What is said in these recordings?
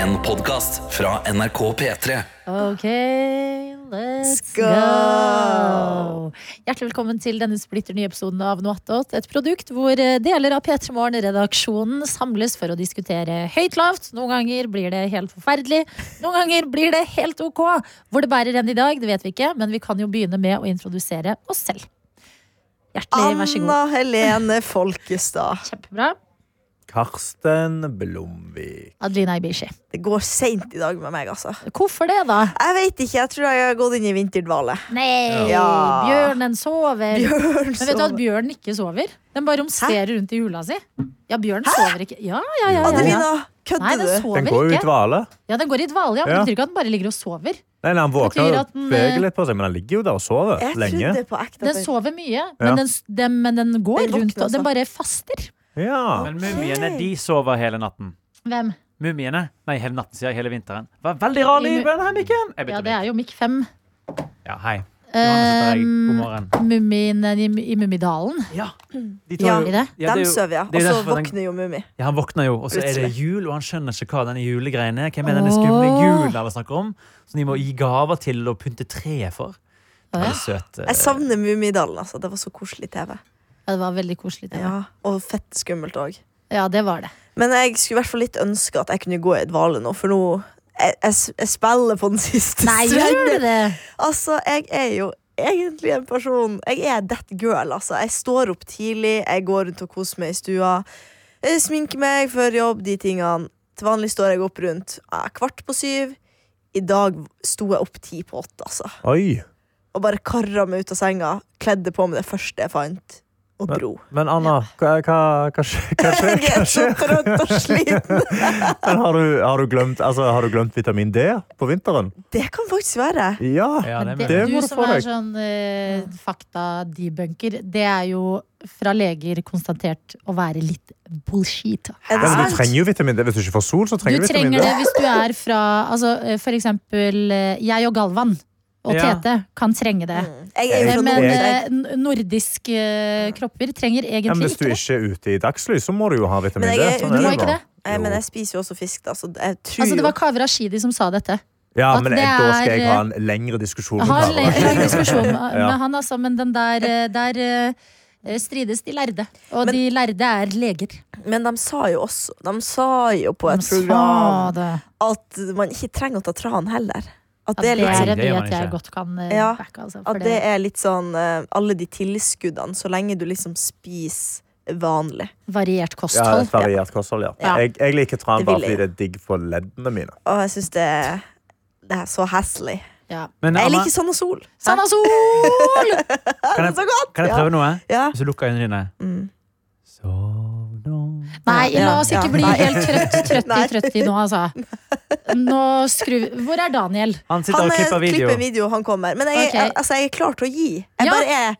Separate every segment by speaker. Speaker 1: En podcast fra NRK P3
Speaker 2: Ok, let's
Speaker 3: go!
Speaker 2: go! Hjertelig velkommen til denne splitter nye episoden av Noe attåt. Et produkt hvor eh, deler av P3 Morgen-redaksjonen samles for å diskutere høyt lavt. Noen ganger blir det helt forferdelig, noen ganger blir det helt ok. Hvor det bærer hen i dag, det vet vi ikke, men vi kan jo begynne med å introdusere oss selv. Hjertelig, vær så god.
Speaker 3: Anna Helene Folkestad.
Speaker 2: Kjempebra.
Speaker 4: Karsten Blomvik.
Speaker 2: Adelina Ibishi.
Speaker 3: Det går seint i dag med meg, altså.
Speaker 2: Hvorfor det, da?
Speaker 3: Jeg vet ikke, jeg tror jeg har gått inn i vinterdvale.
Speaker 2: Nei,
Speaker 3: Ja.
Speaker 2: bjørnen sover.
Speaker 3: Bjørn
Speaker 2: Men vet du at
Speaker 3: som-
Speaker 2: bjørnen ikke sover? Den bare romsterer rundt i hula si. Ja, bjørnen sover ikke. Ja, ja, ja, ja, ja.
Speaker 3: Adelina,
Speaker 2: Nei,
Speaker 3: kødder
Speaker 2: den
Speaker 3: du?
Speaker 2: sover
Speaker 4: Den går jo i
Speaker 2: ikke.
Speaker 4: dvale.
Speaker 2: Ja, den går i dvale, ja, men det
Speaker 4: Ja.
Speaker 2: betyr ikke at den bare ligger og sover.
Speaker 4: Nei, nei, Han våkner
Speaker 2: Betyr
Speaker 4: og
Speaker 2: at den, eh,
Speaker 4: beveger litt på seg, men han ligger jo der og sover
Speaker 3: Jeg
Speaker 4: lenge.
Speaker 3: trodde på ekte at
Speaker 2: Den
Speaker 3: den-
Speaker 2: sover mye, men,
Speaker 4: Ja.
Speaker 2: den, s- den, men den går
Speaker 3: Den våkner,
Speaker 2: rundt og
Speaker 3: altså.
Speaker 2: den bare faster.
Speaker 4: Ja.
Speaker 5: Men mumiene de sover hele natten.
Speaker 2: Hvem?
Speaker 5: Mumiene Nei, hele natten, sier jeg. Hele vinteren. Det var veldig rar lyd på denne mikken! Jeg
Speaker 2: Ja,
Speaker 5: bytter
Speaker 2: det
Speaker 5: mikk.
Speaker 2: er jo Mikk 5.
Speaker 5: Ja, hei. Johannes heter jeg.
Speaker 2: Ehm,
Speaker 5: God morgen.
Speaker 2: Mummien i, i Mummidalen.
Speaker 5: Ja, de
Speaker 3: Ja.
Speaker 5: tar
Speaker 2: Er
Speaker 5: jo
Speaker 2: det?
Speaker 5: ja, det er
Speaker 3: Dem
Speaker 5: jo-
Speaker 3: sover, ja.
Speaker 5: det er
Speaker 3: Og så
Speaker 5: derfor den-
Speaker 3: våkner jo Mummi.
Speaker 5: Ja, Han våkner jo, og så er det
Speaker 3: Plutselig.
Speaker 5: jul, og han skjønner ikke hva denne julegreien er. Hvem er denne skumle julen alle snakker om? Som de må gi gaver til og pynte treet for. Det er
Speaker 2: Ja.
Speaker 5: veldig søt. eh,
Speaker 3: Jeg savner Mummidalen, altså. Det var så koselig TV.
Speaker 2: Ja, det var veldig koselig. Det. Ja.
Speaker 3: Ja, Og fett skummelt òg.
Speaker 2: det var det.
Speaker 3: Men jeg skulle i hvert fall litt ønske at jeg kunne gå i dvale nå, for nå jeg, jeg, jeg spiller på den siste
Speaker 2: Nei, gjør
Speaker 3: strenden.
Speaker 2: du det?
Speaker 3: Altså, jeg er jo egentlig en person Jeg er that girl, altså. Jeg står opp tidlig, jeg går rundt og koser meg i stua. Jeg sminker meg før jobb, de tingene. Til vanlig står jeg opp rundt eh, kvart på syv. I dag sto jeg opp ti på åtte, altså.
Speaker 4: Oi.
Speaker 3: Og bare karra meg ut av senga. Kledde på meg det første jeg fant, og dro.
Speaker 4: Men Anna, hva, hva, hva skjer? Hva skjer?
Speaker 3: Jeg er så trøtt og sliten.
Speaker 4: Men har, du, har, du glemt, altså, har du glemt vitamin D på vinteren?
Speaker 3: Det kan faktisk være.
Speaker 4: Ja.
Speaker 5: Ja, det er
Speaker 2: Men
Speaker 5: mulig.
Speaker 4: det- må
Speaker 2: du
Speaker 4: du
Speaker 2: som
Speaker 4: få
Speaker 2: er
Speaker 4: deg.
Speaker 2: sånn eh, fakta-debunker, det er jo fra leger konstatert å være litt bullshit.
Speaker 3: Er det
Speaker 4: Ja, men du
Speaker 3: sant?
Speaker 4: trenger jo vitamin D. Hvis du ikke får sol, så trenger
Speaker 2: Du
Speaker 4: du vitamin
Speaker 2: trenger
Speaker 4: D.
Speaker 2: det hvis du er fra altså, eh, For eksempel eh, jeg og Galvan og
Speaker 5: Ja.
Speaker 2: Tete kan trenge det.
Speaker 3: Jeg er jo
Speaker 4: Jeg-
Speaker 3: fra
Speaker 2: Men
Speaker 3: Norden.
Speaker 2: eh, n- nordiske eh, kropper trenger
Speaker 4: Ja, men
Speaker 2: egentlig
Speaker 4: hvis du
Speaker 2: ikke det.
Speaker 4: ikke er ute i dagslys, så må du jo ha vitamin
Speaker 3: Men
Speaker 4: D.
Speaker 3: jeg er
Speaker 4: Sånn
Speaker 2: Du
Speaker 4: er
Speaker 2: må
Speaker 4: det
Speaker 2: ikke
Speaker 4: bare.
Speaker 2: det.
Speaker 3: Nei, men jeg spiser jo også fisk, da, så jeg tror
Speaker 2: Altså, det
Speaker 3: jo
Speaker 2: var Kaveh Rashidi som sa dette.
Speaker 4: Ja,
Speaker 2: At
Speaker 4: men
Speaker 2: det
Speaker 4: jeg, da skal jeg
Speaker 2: er- eh,
Speaker 4: ha en lengre diskusjon.
Speaker 2: Jeg
Speaker 4: med
Speaker 2: har
Speaker 4: Kara.
Speaker 2: en lang diskusjon med
Speaker 4: Ja.
Speaker 2: med han, altså, men den der, eh, der eh, strides de lærde. Og
Speaker 3: Men-
Speaker 2: de lærde er leger.
Speaker 3: Men de sa jo også De sa jo på et
Speaker 2: Sa
Speaker 3: program
Speaker 2: det.
Speaker 3: at man ikke trenger å ta tran heller. At
Speaker 2: Ja,
Speaker 3: det er litt,
Speaker 2: det
Speaker 3: sånn-
Speaker 2: er en
Speaker 5: Det gjør man
Speaker 2: nyhet jeg
Speaker 5: ikke.
Speaker 2: godt kan eh,
Speaker 3: Ja,
Speaker 2: backe. Altså, for
Speaker 3: at det er litt sånn eh, alle de tilskuddene, så lenge du liksom spiser vanlig.
Speaker 2: det variert
Speaker 4: Ja,
Speaker 2: kosthold.
Speaker 4: et variert kosthold, ja.
Speaker 2: Ja.
Speaker 4: Jeg, jeg liker tran
Speaker 3: Det
Speaker 4: bare
Speaker 3: vil
Speaker 4: fordi
Speaker 3: jeg.
Speaker 4: det er digg for leddene mine.
Speaker 3: Og jeg syns det, det er så heslig.
Speaker 2: Ja.
Speaker 5: Men
Speaker 3: Jeg
Speaker 5: Anna,
Speaker 3: liker sånn og sol.
Speaker 2: Sanna Sol!
Speaker 5: kan
Speaker 3: Det er så
Speaker 5: jeg,
Speaker 3: godt!
Speaker 5: kan jeg prøve noe?
Speaker 3: Ja.
Speaker 5: Hvis du lukker øynene dine.
Speaker 3: Mm.
Speaker 5: Sov nå
Speaker 2: Nei,
Speaker 3: Ja,
Speaker 2: la oss
Speaker 3: ja,
Speaker 2: ikke bli
Speaker 3: nei.
Speaker 2: helt trøtt, trøtt i
Speaker 3: Nei.
Speaker 2: trøtt i nå, altså. Nå skrur vi Hvor er Daniel?
Speaker 5: Han sitter
Speaker 3: Han
Speaker 5: og
Speaker 3: eh,
Speaker 5: klipper video.
Speaker 3: klipper video, han kommer. Men jeg,
Speaker 2: Ok.
Speaker 3: jeg, altså, jeg er klar til å gi. Jeg
Speaker 2: Ja.
Speaker 3: bare er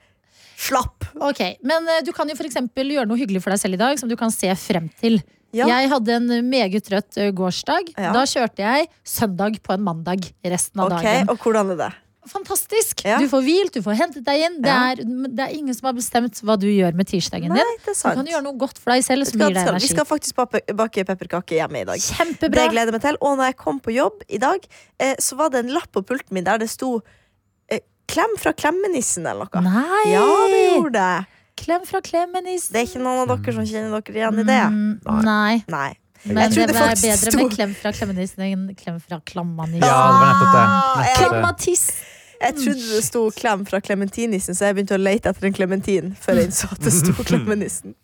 Speaker 3: slapp.
Speaker 2: Ok, Men eh, du kan jo for eksempel gjøre noe hyggelig for deg selv i dag, som du kan se frem til.
Speaker 3: Ja.
Speaker 2: Jeg hadde en meget trøtt eh, gårsdag.
Speaker 3: Ja.
Speaker 2: Da kjørte jeg søndag på en mandag resten av
Speaker 3: Ok,
Speaker 2: dagen.
Speaker 3: Og hvordan er det?
Speaker 2: Fantastisk!
Speaker 3: Ja.
Speaker 2: Du får hvilt, du får hentet deg inn. Det,
Speaker 3: Ja.
Speaker 2: er, det er ingen som har bestemt hva du gjør med tirsdagen din.
Speaker 3: Nei, det er
Speaker 2: Du
Speaker 3: sant.
Speaker 2: kan gjøre noe godt for deg selv
Speaker 3: Vet
Speaker 2: som
Speaker 3: du hva,
Speaker 2: gir
Speaker 3: det
Speaker 2: deg
Speaker 3: skal- Vi
Speaker 2: energi.
Speaker 3: skal faktisk bake- bake pepperkaker hjemme i dag.
Speaker 2: Kjempebra!
Speaker 3: Det gleder jeg meg til. Og når jeg kom på jobb i dag, eh, så var det en lapp på pulten min der det sto eh, 'Klem fra klemmenissen' eller noe.
Speaker 2: Nei!
Speaker 3: Ja, det gjorde det.
Speaker 2: Klem fra klemmenis.
Speaker 3: Det er ikke noen av dere som kjenner dere igjen i det.
Speaker 2: Mm, nei.
Speaker 3: Nei.
Speaker 2: Nei,
Speaker 3: Jeg
Speaker 2: det
Speaker 3: trodde
Speaker 2: er
Speaker 3: faktisk
Speaker 2: bedre med
Speaker 3: det sto-
Speaker 2: klem fra klemmenissen enn klem fra klammanissen.
Speaker 3: Eh,
Speaker 5: Ja, det var nettopp det. Nettopp det.
Speaker 2: Klammatiss!
Speaker 3: Jeg trodde det sto 'klem fra klementinissen', så jeg begynte å lete etter en klementin før jeg innså at det sto 'klemmenissen'.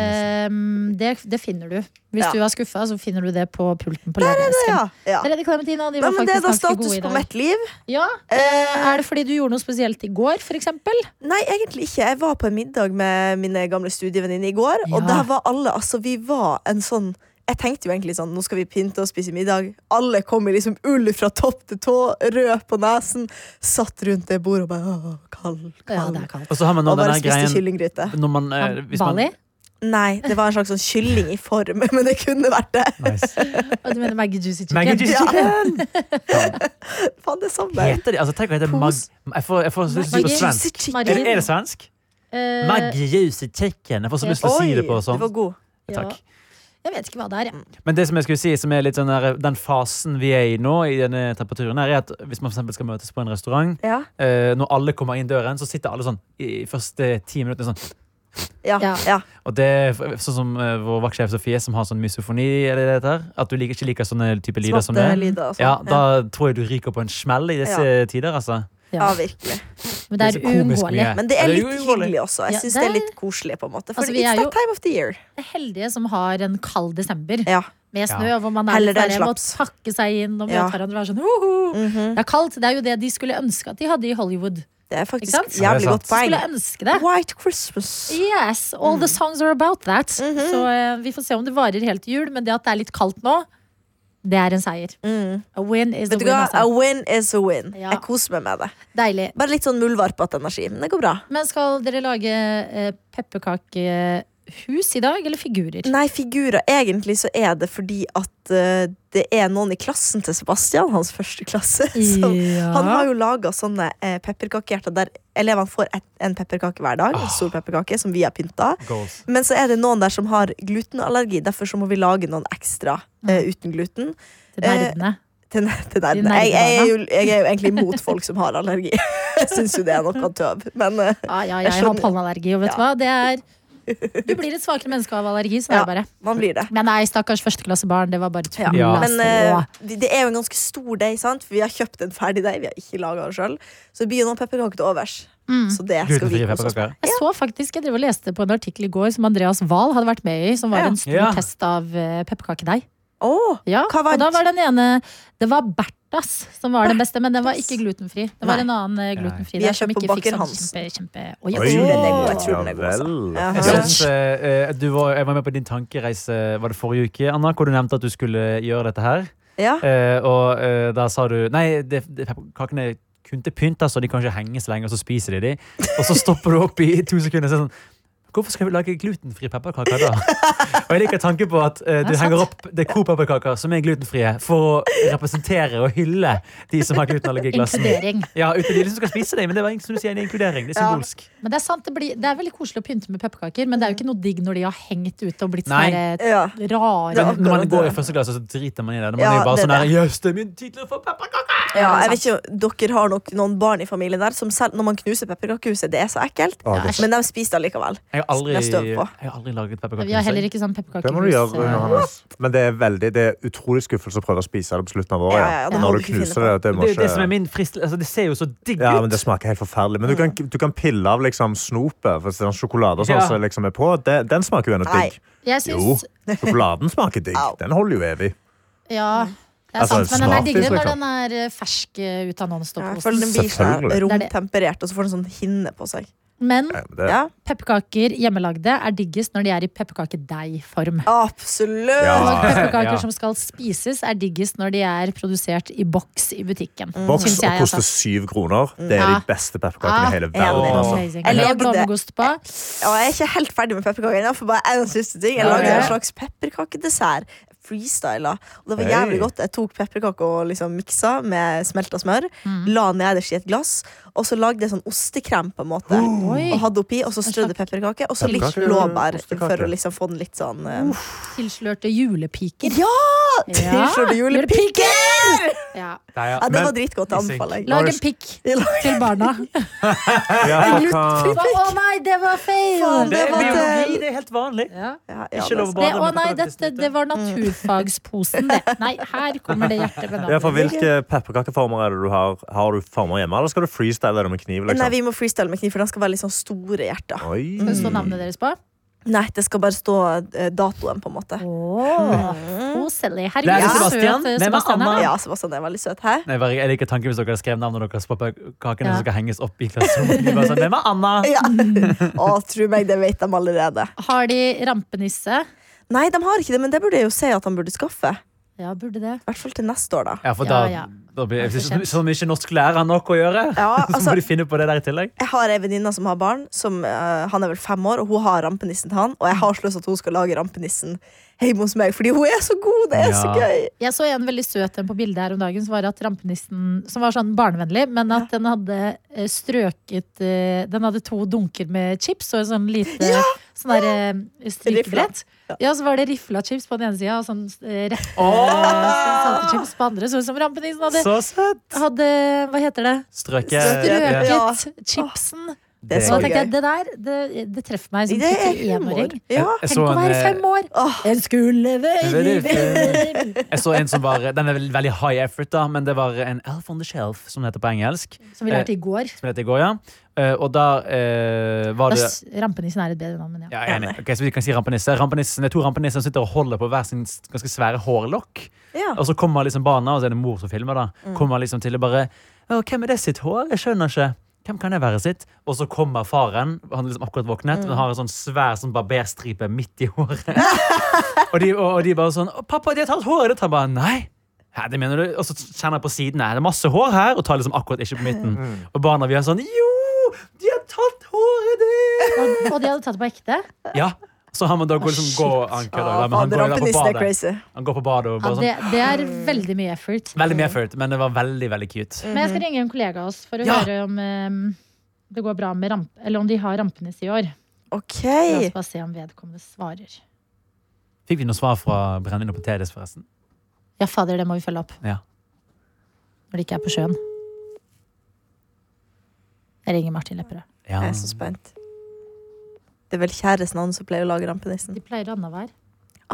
Speaker 2: Ehm, det, det finner du. Hvis
Speaker 3: Ja.
Speaker 2: du er skuffa, så finner du det på pulten på lederesken.
Speaker 3: Ja, ja.
Speaker 2: Der er det Clementina, de
Speaker 3: Nei,
Speaker 2: var
Speaker 3: men det er
Speaker 2: faktisk
Speaker 3: da
Speaker 2: ganske gode
Speaker 3: status
Speaker 2: i
Speaker 3: på
Speaker 2: dag.
Speaker 3: mitt liv.
Speaker 2: Ja,
Speaker 3: Eh,
Speaker 2: Er det fordi du gjorde noe spesielt i går, for eksempel?
Speaker 3: Nei, egentlig ikke. Jeg var på en middag med mine gamle studievenninner i går, og
Speaker 2: Ja.
Speaker 3: der var alle Altså, vi var en sånn jeg tenkte jo egentlig sånn, nå skal vi pynte og spise middag. Alle kom i liksom ull fra topp til tå, rød på nesen. Satt rundt det bordet og bare åh, kald,
Speaker 2: Ja,
Speaker 3: kald.
Speaker 2: det er kaldt.
Speaker 5: Og så har man nå
Speaker 3: og bare
Speaker 5: denne
Speaker 3: spiste
Speaker 5: greien
Speaker 3: kyllinggryte.
Speaker 5: når man, eh, hvis man,
Speaker 2: Ah, Bali?
Speaker 3: Nei, det var en slags sånn kylling i form, men det kunne vært det.
Speaker 5: Nice.
Speaker 2: Og du mener Maggie Juicy Chicken?
Speaker 5: Maggie Juicy
Speaker 3: Ja.
Speaker 5: Chicken!
Speaker 3: Faen, det er samme.
Speaker 5: Heter de, altså, tenk å hete Mag...
Speaker 3: Pos-
Speaker 5: Jeg får, jeg får så lyst til å si det på
Speaker 2: Maggi-
Speaker 5: svensk.
Speaker 2: Maggi-
Speaker 5: Er, er det svensk?
Speaker 2: Eh,
Speaker 5: Maggi Juicy Chicken. Jeg får så lyst til å si det på
Speaker 3: det
Speaker 5: sånn.
Speaker 3: var god.
Speaker 2: ja.
Speaker 5: Takk.
Speaker 2: Jeg vet ikke hva det er. jeg.
Speaker 5: Men det som jeg skulle si, som er litt sånn der, den fasen vi er i nå, i denne temperaturen her, er at hvis man for eksempel skal møtes på en restaurant,
Speaker 3: Ja.
Speaker 5: eh, når alle kommer inn døren, så sitter alle sånn i første ti minutter sånn.
Speaker 3: Ja.
Speaker 2: Ja.
Speaker 3: ja.
Speaker 5: Og det er f- sånn som eh, vår vaktsjef Sofie, som har sånn mysofoni, er det det heter? At du liker, ikke liker sånne type lyder som det.
Speaker 3: Smatte lyder og sånn.
Speaker 5: Ja, da tror jeg du ryker på en smell i disse tider, altså.
Speaker 3: Ja,
Speaker 2: Ja.
Speaker 3: virkelig.
Speaker 2: Men det
Speaker 5: Det
Speaker 2: er
Speaker 5: er så komisk
Speaker 2: uunngåelig.
Speaker 5: mye.
Speaker 3: Men det
Speaker 5: Ja,
Speaker 3: er
Speaker 5: det er
Speaker 3: litt
Speaker 5: jo uvanlig.
Speaker 3: hyggelig også. Jeg
Speaker 2: Ja,
Speaker 3: syns
Speaker 2: det
Speaker 3: det
Speaker 2: er-
Speaker 3: er litt koselig, på en måte. For
Speaker 2: Altså, vi
Speaker 3: it's
Speaker 2: er jo-
Speaker 3: that time of the year.
Speaker 2: Det er heldige som har en kald desember
Speaker 3: Ja.
Speaker 2: med snø, hvor man er
Speaker 3: Heller
Speaker 2: litt
Speaker 3: det enn
Speaker 2: der, må
Speaker 3: slaps.
Speaker 2: pakke seg inn og møte
Speaker 3: Ja. Mhm.
Speaker 2: hverandre og være sånn «Hoho!» Det er kaldt. Det er jo det de skulle ønske at de hadde i Hollywood.
Speaker 3: Det er
Speaker 2: Ikke sant?
Speaker 3: faktisk
Speaker 5: Ja, det
Speaker 3: jævlig
Speaker 5: er
Speaker 3: godt
Speaker 5: sant.
Speaker 2: Skulle
Speaker 3: poeng.
Speaker 2: ønske det.
Speaker 3: White Christmas.
Speaker 2: Yes, all
Speaker 3: Mhm.
Speaker 2: the songs are about that. Så eh, vi får se om det varer helt til jul, men det at det er litt kaldt nå, det er en seier. A win is a
Speaker 3: Mm. Vet du
Speaker 2: win.
Speaker 3: hva? A
Speaker 2: Altså.
Speaker 3: win is a win.
Speaker 2: Ja.
Speaker 3: Jeg koser meg med det.
Speaker 2: Deilig.
Speaker 3: Bare litt sånn muldvarpete energi. Men det går bra.
Speaker 2: Men skal dere lage eh, pepperkakehus i dag, eller figurer?
Speaker 3: Nei, figurer. Egentlig så er det fordi at eh, det er noen i klassen til Sebastian, hans første klasse, som
Speaker 2: Ja.
Speaker 3: altså, Han har jo laga sånne eh, pepperkakehjerter der elevene får et, en pepperkake hver dag.
Speaker 5: Ah.
Speaker 3: en Stor pepperkake som vi har pynta.
Speaker 5: Goals.
Speaker 3: Men så er det noen der som har glutenallergi, derfor så må vi lage noen ekstra eh, uten gluten.
Speaker 2: Til
Speaker 3: eh,
Speaker 2: nerdene.
Speaker 3: Til, til nerdene. jeg, jeg, er jo, jeg er jo egentlig imot folk som har allergi. Jeg syns jo det er noe tøv. Men eh,
Speaker 2: Ah, Ja, ja,
Speaker 3: jeg
Speaker 2: jeg har
Speaker 3: skjønner.
Speaker 2: pollenallergi, og vet du
Speaker 3: Ja.
Speaker 2: hva? Det er Du blir et svakere menneske av allergi, sånn
Speaker 3: Ja.
Speaker 2: er det bare.
Speaker 3: man blir det.
Speaker 2: Men nei, stakkars førsteklassebarn, det var bare tull.
Speaker 3: Ja.
Speaker 5: Ja.
Speaker 3: Men
Speaker 2: altså.
Speaker 3: eh, vi- det er jo en ganske stor deig, sant? for vi har kjøpt en ferdig deig. Vi har ikke laga den sjøl. Så det blir jo noen pepperkaker til overs. Så det skal vi
Speaker 5: Glutenfrie
Speaker 3: kose oss med.
Speaker 5: pepperkaker.
Speaker 2: Jeg så faktisk, jeg drev og leste på en artikkel i går som Andreas Wahl hadde vært med i, som var
Speaker 3: Ja.
Speaker 2: en stor
Speaker 5: Ja.
Speaker 2: test av eh, pepperkakedeig.
Speaker 3: Åh,
Speaker 2: Ja,
Speaker 3: Hva
Speaker 2: Og
Speaker 3: vant?
Speaker 2: da var den ene Det var Bertas som var den beste, men den var ikke glutenfri. Det var
Speaker 3: Nei.
Speaker 2: en annen eh, glutenfri
Speaker 3: Vi har
Speaker 2: der som
Speaker 3: kjøpt på
Speaker 2: ikke fikk
Speaker 3: Baker
Speaker 2: sånn
Speaker 3: Hansen.
Speaker 2: kjempe, kjempe Oi,
Speaker 3: Jeg tror den er god, jeg
Speaker 2: åh.
Speaker 3: tror den er god, altså.
Speaker 4: Ja,
Speaker 3: Jaha.
Speaker 5: Jeg,
Speaker 3: Ja.
Speaker 5: synes, eh, eh, du var, jeg var med på din tankereise Var det forrige uke, Anna, hvor du nevnte at du skulle eh, gjøre dette her.
Speaker 3: ja.
Speaker 5: Eh, og eh, da sa du Nei, det, det, kakene er kun til pynt, altså, de kan ikke henge så lenge, og så spiser de de. Og så stopper du opp i to sekunder og sier sånn Hvorfor skal vi lage glutenfrie pepperkaker da? Og jeg liker tanken på at eh, du
Speaker 2: Det er sant.
Speaker 5: henger opp det er Coop-pepperkaker som er glutenfrie, for å representere og hylle de som har glutenallergi i klassen.
Speaker 2: Inkludering.
Speaker 5: Ja, uten de som skal spise det, men det var som du sier, en inkludering. Det er symbolsk.
Speaker 2: Men det er sant, det, blir, det er veldig koselig å pynte med pepperkaker, men det er jo ikke noe digg når de har hengt ute og blitt
Speaker 5: Nei.
Speaker 2: sånn her, eh,
Speaker 3: Ja.
Speaker 2: rare.
Speaker 3: Ja.
Speaker 5: Men når man
Speaker 3: akkurat
Speaker 5: går i
Speaker 3: det.
Speaker 5: første klasse, så driter man i det. Man
Speaker 3: Ja,
Speaker 5: er jo bare
Speaker 3: det er
Speaker 5: sånn her
Speaker 3: det.
Speaker 5: Jøss, det er min tid til å få pepperkake!
Speaker 3: Ja, jeg vet ikke, Dere har nok noen barn i familien der som selv når man knuser pepperkakehuset, det er så ekkelt.
Speaker 4: Ja, det er
Speaker 3: Men de spiser det allikevel.
Speaker 5: Jeg har aldri,
Speaker 3: Det er støv
Speaker 5: jeg
Speaker 3: på.
Speaker 5: har aldri laget
Speaker 2: Vi har heller
Speaker 5: pepperkaker.
Speaker 2: ikke sånn
Speaker 4: Det må du gjøre,
Speaker 2: pepperkakehus. eh,
Speaker 4: Johannes. Men det er veldig, det er utrolig skuffelse å prøve å spise det på slutten av året.
Speaker 3: Ja, ja, ja, det må
Speaker 4: Når
Speaker 3: du
Speaker 4: du
Speaker 3: ikke
Speaker 4: knuser det.
Speaker 3: finne
Speaker 4: Det,
Speaker 5: Det
Speaker 4: må
Speaker 5: er jo det som er
Speaker 4: ikke...
Speaker 5: min frist... Altså, det ser jo så digg
Speaker 4: Ja, men
Speaker 5: ut!
Speaker 4: det smaker helt forferdelig. Men du kan, du kan pille av liksom snopet. For sånn sjokolade og sånn
Speaker 5: Ja.
Speaker 4: som liksom er på, det, den smaker jo ennå
Speaker 3: Nei.
Speaker 4: digg.
Speaker 2: Jeg
Speaker 4: Jo,
Speaker 2: syns
Speaker 4: sjokoladen smaker digg.
Speaker 3: Au.
Speaker 4: Den holder jo evig.
Speaker 2: Ja, det er
Speaker 4: Altså,
Speaker 2: sant, men den er
Speaker 4: smaken,
Speaker 2: diggere når
Speaker 4: liksom.
Speaker 2: den er eh, fersk eh, ut av
Speaker 3: Ja, jeg
Speaker 2: Nonstop-osten.
Speaker 3: føler den blir sånn
Speaker 4: Selvfølgelig.
Speaker 3: romtemperert, og så får den sånn hinne på seg.
Speaker 2: Men
Speaker 4: Ja, men det-
Speaker 3: Ja,
Speaker 2: pepperkaker hjemmelagde er diggest når de er i pepperkakedeigform.
Speaker 3: Ah,
Speaker 2: Og
Speaker 3: Absolutt!
Speaker 4: Ja.
Speaker 2: pepperkaker
Speaker 5: Ja.
Speaker 2: som skal spises, er diggest når de er produsert i boks i butikken.
Speaker 3: Mm.
Speaker 4: Boks
Speaker 2: Synes jeg,
Speaker 4: og koster
Speaker 2: altså.
Speaker 4: syv kroner. Det er
Speaker 2: Ja.
Speaker 4: de beste
Speaker 5: Ah.
Speaker 4: pepperkakene i hele verden.
Speaker 5: enig.
Speaker 4: altså.
Speaker 2: Amazing.
Speaker 3: Jeg
Speaker 2: Jeg
Speaker 3: lagde-
Speaker 2: blåmuggost på.
Speaker 3: Ja, jeg er ikke helt ferdig med pepperkaker ennå, for bare en siste ting. Jeg
Speaker 5: Ja,
Speaker 3: lagde
Speaker 5: ja.
Speaker 3: en slags pepperkakedessert. Freestyla. Og det var
Speaker 4: Hey.
Speaker 3: jævlig godt. Jeg tok pepperkaker og liksom miksa med smelta smør. La nederst i et glass, og så lagde jeg sånn ostekrem på en måte.
Speaker 2: Oi.
Speaker 3: Og hadde oppi, og så strødde pepperkake, og så litt
Speaker 4: Oh. Pepperkake,
Speaker 3: blåbær
Speaker 4: ostekake.
Speaker 3: for å liksom få den litt sånn eh,
Speaker 2: Tilslørte julepiker.
Speaker 3: Ja!
Speaker 2: Ja,
Speaker 3: Tilslørte julepiker!
Speaker 2: Ja.
Speaker 5: Nei,
Speaker 3: Ja, det
Speaker 4: Men-
Speaker 3: var dritgodt. Det anbefaler jeg.
Speaker 2: Lag en pikk til barna.
Speaker 4: Ja, for
Speaker 2: Å
Speaker 4: hva-
Speaker 2: nei, det var feil!
Speaker 3: Faen,
Speaker 5: det,
Speaker 3: det
Speaker 5: er
Speaker 3: var
Speaker 5: biologi,
Speaker 3: til-
Speaker 5: det er helt vanlig.
Speaker 2: Ja.
Speaker 3: Ja, ja,
Speaker 5: Ikke lov å
Speaker 3: det-
Speaker 5: bade
Speaker 2: Det, å
Speaker 5: med
Speaker 2: nei,
Speaker 5: pepperkaker
Speaker 2: dette, det
Speaker 3: Mm.
Speaker 2: var naturfagsposen, det. Nei, her kommer det hjertet med
Speaker 4: ja, for
Speaker 2: navn.
Speaker 4: hvilke pepperkakeformer er det du har? Har du former hjemme, eller skal du freestyle det med kniv?
Speaker 3: Nei,
Speaker 4: liksom?
Speaker 3: vi må freestyle med kniv, for de skal være litt sånn store hjerter.
Speaker 4: Oi.
Speaker 2: Skal det stå navnet deres på?
Speaker 3: Nei, det skal bare stå eh, datoen, på en måte.
Speaker 2: Åh, koselig. Herregud,
Speaker 5: Det er
Speaker 2: så søt,
Speaker 5: Sebastian.
Speaker 2: eh,
Speaker 5: Hvem er
Speaker 2: Sebastian
Speaker 5: Anna?
Speaker 2: er.
Speaker 3: Ja, Sebastian, det er veldig søt. Hæ?
Speaker 5: Nei, bare- jeg liker tanken hvis dere hadde skrevet navnet deres på pepperkakene
Speaker 2: Ja.
Speaker 5: som skal henges opp i klasserommet. De bare Sånn, Hvem er Anna?
Speaker 3: Ja. Å, tro meg, det vet de allerede.
Speaker 2: Har de rampenisse?
Speaker 3: Nei, de har ikke det, men det burde jeg jo si at han burde skaffe. I
Speaker 2: Ja, burde det.
Speaker 3: hvert fall til neste år, da.
Speaker 5: Ja, for da
Speaker 2: Ja, ja.
Speaker 5: Da
Speaker 2: Det
Speaker 5: blir,
Speaker 2: er for
Speaker 5: som,
Speaker 2: sent.
Speaker 5: som ikke norsklæreren nok å gjøre.
Speaker 3: Ja,
Speaker 5: så
Speaker 3: altså,
Speaker 5: må de finne på det der i tillegg.
Speaker 3: jeg har ei venninne som har barn. Som, eh, han er vel fem år, og hun har rampenissen til han. Og jeg har så lyst til at hun skal lage rampenissen hjemme hos meg, fordi hun er så god! Det er så
Speaker 5: Ja.
Speaker 3: gøy!
Speaker 2: Jeg så en veldig søt en på bildet her om dagen som var at rampenissen Som var sånn barnevennlig, men at den hadde eh, strøket eh, Den hadde to dunker med chips og sånn lite sånn der eh, strykebrett. Ja. så var det rifla chips på den ene sida og sånn eh, rette salte chips på den andre. Så ut som rampenissen hadde,
Speaker 5: Så søtt!
Speaker 2: hadde Hva heter det?
Speaker 5: Strøket.
Speaker 3: Strøket.
Speaker 5: Ja,
Speaker 3: Ja.
Speaker 2: Strøket chipsen.
Speaker 3: Det er
Speaker 2: Så
Speaker 3: så
Speaker 2: da tenkte jeg,
Speaker 3: gøy.
Speaker 2: det der, det, det treffer meg som
Speaker 3: Det er humor.
Speaker 2: 71-åring.
Speaker 3: Ja.
Speaker 5: Jeg
Speaker 2: Tenk
Speaker 5: så
Speaker 2: å
Speaker 5: en,
Speaker 2: være
Speaker 5: eh,
Speaker 2: fem år!
Speaker 3: Åh.
Speaker 2: En skulle
Speaker 5: Veldig
Speaker 2: være
Speaker 5: Jeg så en som var, Den er vel- veldig high effort, da, men det var en Elf on the Shelf, som det heter på engelsk.
Speaker 2: Som vi lærte i går.
Speaker 5: Som det heter i går, ja. Eh, Og da eh, var
Speaker 2: Da
Speaker 5: det
Speaker 2: s- Rampenissen er et bedre navn, men ja.
Speaker 5: ja, jeg er enig. Ok, så vi kan si rampenisse. Rampenissen det er to rampenisser som sitter og holder på hver sin s- ganske svære hårlokk.
Speaker 3: Ja.
Speaker 5: Og så kommer liksom barna, og så er det mor som filmer, da.
Speaker 2: Mm.
Speaker 5: Kommer liksom til å bare «Å, Hvem er det sitt hår? Jeg skjønner ikke. Hvem kan det være sitt? Og så kommer faren, han er liksom akkurat våknet,
Speaker 2: Mm.
Speaker 5: men har en sånn svær sånn barberstripe midt i håret. og, de, og, og de bare sånn «Å, 'Pappa, de har tatt håret ditt!' Han bare 'Nei'. Hæ, det mener du? Og så kjenner jeg på siden «Nei, det er masse hår her, og tar liksom akkurat ikke på midten. Og barna vi er sånn 'Jo, de har tatt håret ditt!'
Speaker 2: Og, og de hadde tatt det på ekte.
Speaker 5: Ja, så han må da gå, liksom,
Speaker 2: shit.
Speaker 5: gå han kødder, da,
Speaker 3: Ah,
Speaker 5: men han
Speaker 3: fader,
Speaker 5: går jo der på
Speaker 3: Rampenissen er
Speaker 5: badet.
Speaker 3: crazy.
Speaker 5: Han går på badet og
Speaker 2: Ja, det,
Speaker 5: bare sånn
Speaker 2: det er veldig mye effort.
Speaker 5: Veldig mye effort, men det var veldig, veldig cute.
Speaker 2: Men jeg skal ringe en kollega av oss for å
Speaker 5: Ja.
Speaker 2: høre om eh, det går bra med ramp... Eller om de har rampenes i år.
Speaker 3: OK.
Speaker 2: La oss bare se om vedkommende svarer.
Speaker 5: Fikk vi noe svar fra Brennevin og Potetis, forresten?
Speaker 2: Ja, fader, det må vi følge opp.
Speaker 5: Ja.
Speaker 2: Når de ikke er på sjøen. Jeg ringer Martin Lepperød.
Speaker 5: Ja.
Speaker 3: Jeg er så spent. Det er vel kjæresten hans som pleier å lage rampenissen.
Speaker 2: De pleier annenhver.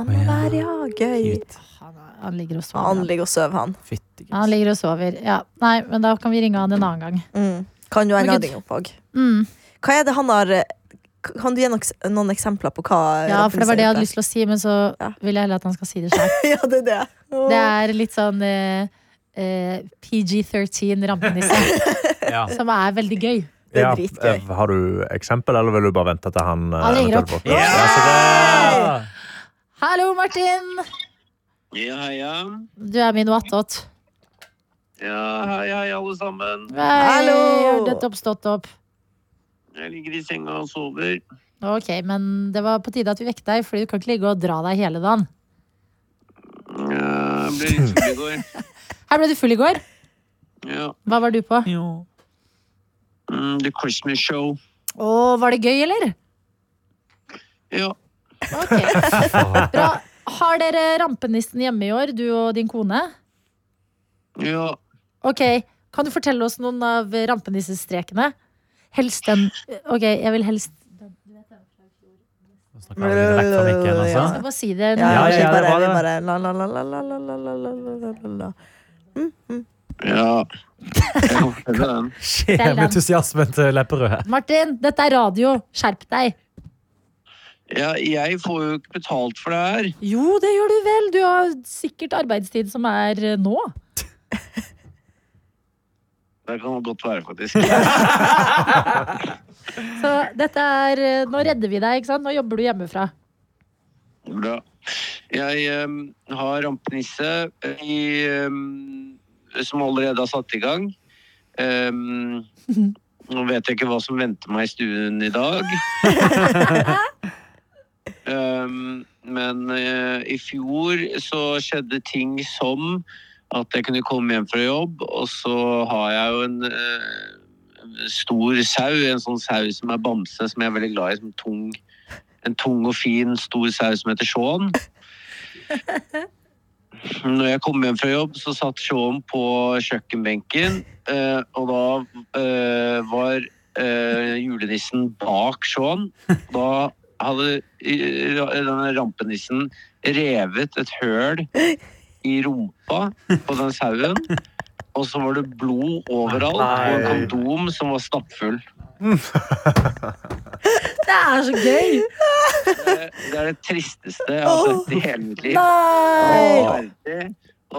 Speaker 3: Annenhver, ja. Gøy.
Speaker 5: Cute.
Speaker 2: Han, han ligger og sover.
Speaker 3: Han ligger og sover, han.
Speaker 5: Fytti
Speaker 2: Ja, han
Speaker 5: gris.
Speaker 2: ligger og sover. Ja. Nei, men da kan vi ringe han en annen gang.
Speaker 3: Mm. Kan jo
Speaker 2: Men
Speaker 3: en
Speaker 2: gud.
Speaker 3: lading opp òg.
Speaker 2: Mm.
Speaker 3: Hva er det han har eh, k- Kan du gi noen, noen eksempler på hva
Speaker 2: Ja, for det var det jeg hadde lyst til å si, men så
Speaker 3: eh, Ja.
Speaker 2: vil jeg heller at han skal si det sjøl.
Speaker 3: ja, det er det. Åh.
Speaker 2: Det er litt sånn eh, eh, PG-13 rampenisse,
Speaker 5: Ja.
Speaker 2: som er veldig gøy.
Speaker 3: Det er
Speaker 4: Ja,
Speaker 3: dritgøy.
Speaker 4: eh, Har du eksempel, eller vil du bare vente til han eh,
Speaker 2: Han ringer
Speaker 4: eventuelt
Speaker 2: opp.
Speaker 4: våkner?
Speaker 5: Ja, så det-
Speaker 2: Hallo, Martin!
Speaker 6: Ja, heia.
Speaker 2: Du er min wattot.
Speaker 6: Ja, hei, hei, alle sammen.
Speaker 2: Hallo!
Speaker 3: Hallo!
Speaker 2: Dette oppstått opp.
Speaker 6: Jeg ligger i senga og sover.
Speaker 2: Ok, men det var på tide at vi vekket deg, fordi du kan ikke ligge og dra deg hele dagen.
Speaker 6: Ja, Jeg ble litt full i går.
Speaker 2: Her ble du full i går.
Speaker 6: Ja.
Speaker 2: Hva var du på? Å,
Speaker 5: Jo.
Speaker 6: Mm, The Christmas Show.
Speaker 2: var det gøy, eller?
Speaker 6: Ja.
Speaker 2: Ok, bra. Har dere rampenissen hjemme i år, du og din kone?
Speaker 6: Ja.
Speaker 2: Ok, kan du fortelle oss noen av rampenissestrekene? Helst den Ok, jeg vil helst
Speaker 5: Nå snakker vi litt vekk fra mikken,
Speaker 2: Jeg
Speaker 5: altså.
Speaker 2: skal bare si det.
Speaker 3: Ja,
Speaker 5: Ja, ja,
Speaker 3: vi
Speaker 5: ja, det
Speaker 3: bare,
Speaker 5: var
Speaker 3: vi
Speaker 5: det.
Speaker 3: bare la, la, la, la, la, la, la, la, la, la, la, la.
Speaker 6: Ja. Jeg kan fortelle den.
Speaker 5: Skjev entusiasmen til Lepperød.
Speaker 2: Martin, dette er radio. Skjerp deg.
Speaker 6: Ja, jeg får jo ikke betalt for det her.
Speaker 2: Jo, det gjør du vel. Du har sikkert arbeidstid som er eh, nå.
Speaker 6: Det kan det godt være, faktisk.
Speaker 2: Så dette er eh, Nå redder vi deg, ikke sant? Nå jobber du hjemmefra.
Speaker 6: Bra. Jeg em, har rampenisse i, em, som allerede har satt i gang. Em, nå vet jeg ikke hva som venter meg i stuen i dag. Em, Ehm, men eh, i fjor så skjedde ting som at jeg kunne komme hjem fra jobb, og så har jeg jo en eh, stor sau, en sånn sau som er bamse, som jeg er veldig glad i, som tung en tung og fin, stor saus som heter Sean. Når jeg kom hjem fra jobb, så satt Sean på kjøkkenbenken, eh, og da eh, var eh, julenissen bak Sean. Da hadde eh, denne rampenissen revet et høl i rumpa på den sauen, og så var det blod overalt, og en
Speaker 4: Nei.
Speaker 6: kondom som var stappfull.
Speaker 2: Det er så gøy!
Speaker 6: Det det er det tristeste jeg har sett i hele mitt liv.
Speaker 3: Nei!
Speaker 6: Forferdelig.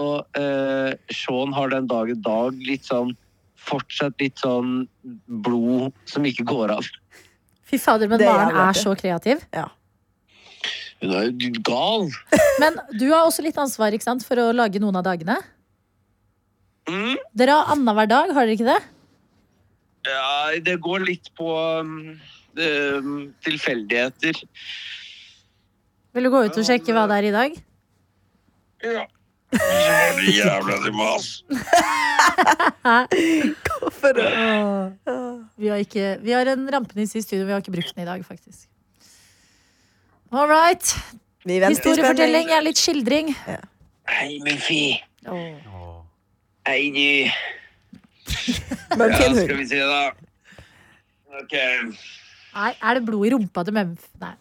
Speaker 6: Og eh, Sean har den dag i dag litt sånn Fortsatt litt sånn blod som ikke går av.
Speaker 2: Fy fader, men
Speaker 3: Det er
Speaker 2: Maren
Speaker 3: jævlig
Speaker 2: er
Speaker 3: artig.
Speaker 2: så kreativ.
Speaker 6: Hun er jo gal!
Speaker 2: Men du har også litt ansvar ikke sant, for å lage noen av dagene.
Speaker 6: Mm?
Speaker 2: Dere har annenhver dag, har dere ikke det?
Speaker 6: Ja, det går litt på um, um, tilfeldigheter.
Speaker 2: Vil du gå ut og sjekke hva det er i dag?
Speaker 6: Ja. Jævla til mas.
Speaker 3: For,
Speaker 2: Vi har, ikke, vi har en rampenisse i studio, vi har ikke brukt den i dag, faktisk. All right.
Speaker 3: vi venter i
Speaker 2: Historiefortelling
Speaker 3: spenning.
Speaker 2: er litt skildring.
Speaker 6: Hei, min fi. Hei, du.
Speaker 3: Men
Speaker 6: Ja,
Speaker 3: fin
Speaker 6: skal
Speaker 3: hund.
Speaker 6: vi se, da. Ok.
Speaker 2: Nei, er det blod i rumpa til Memf? Nei.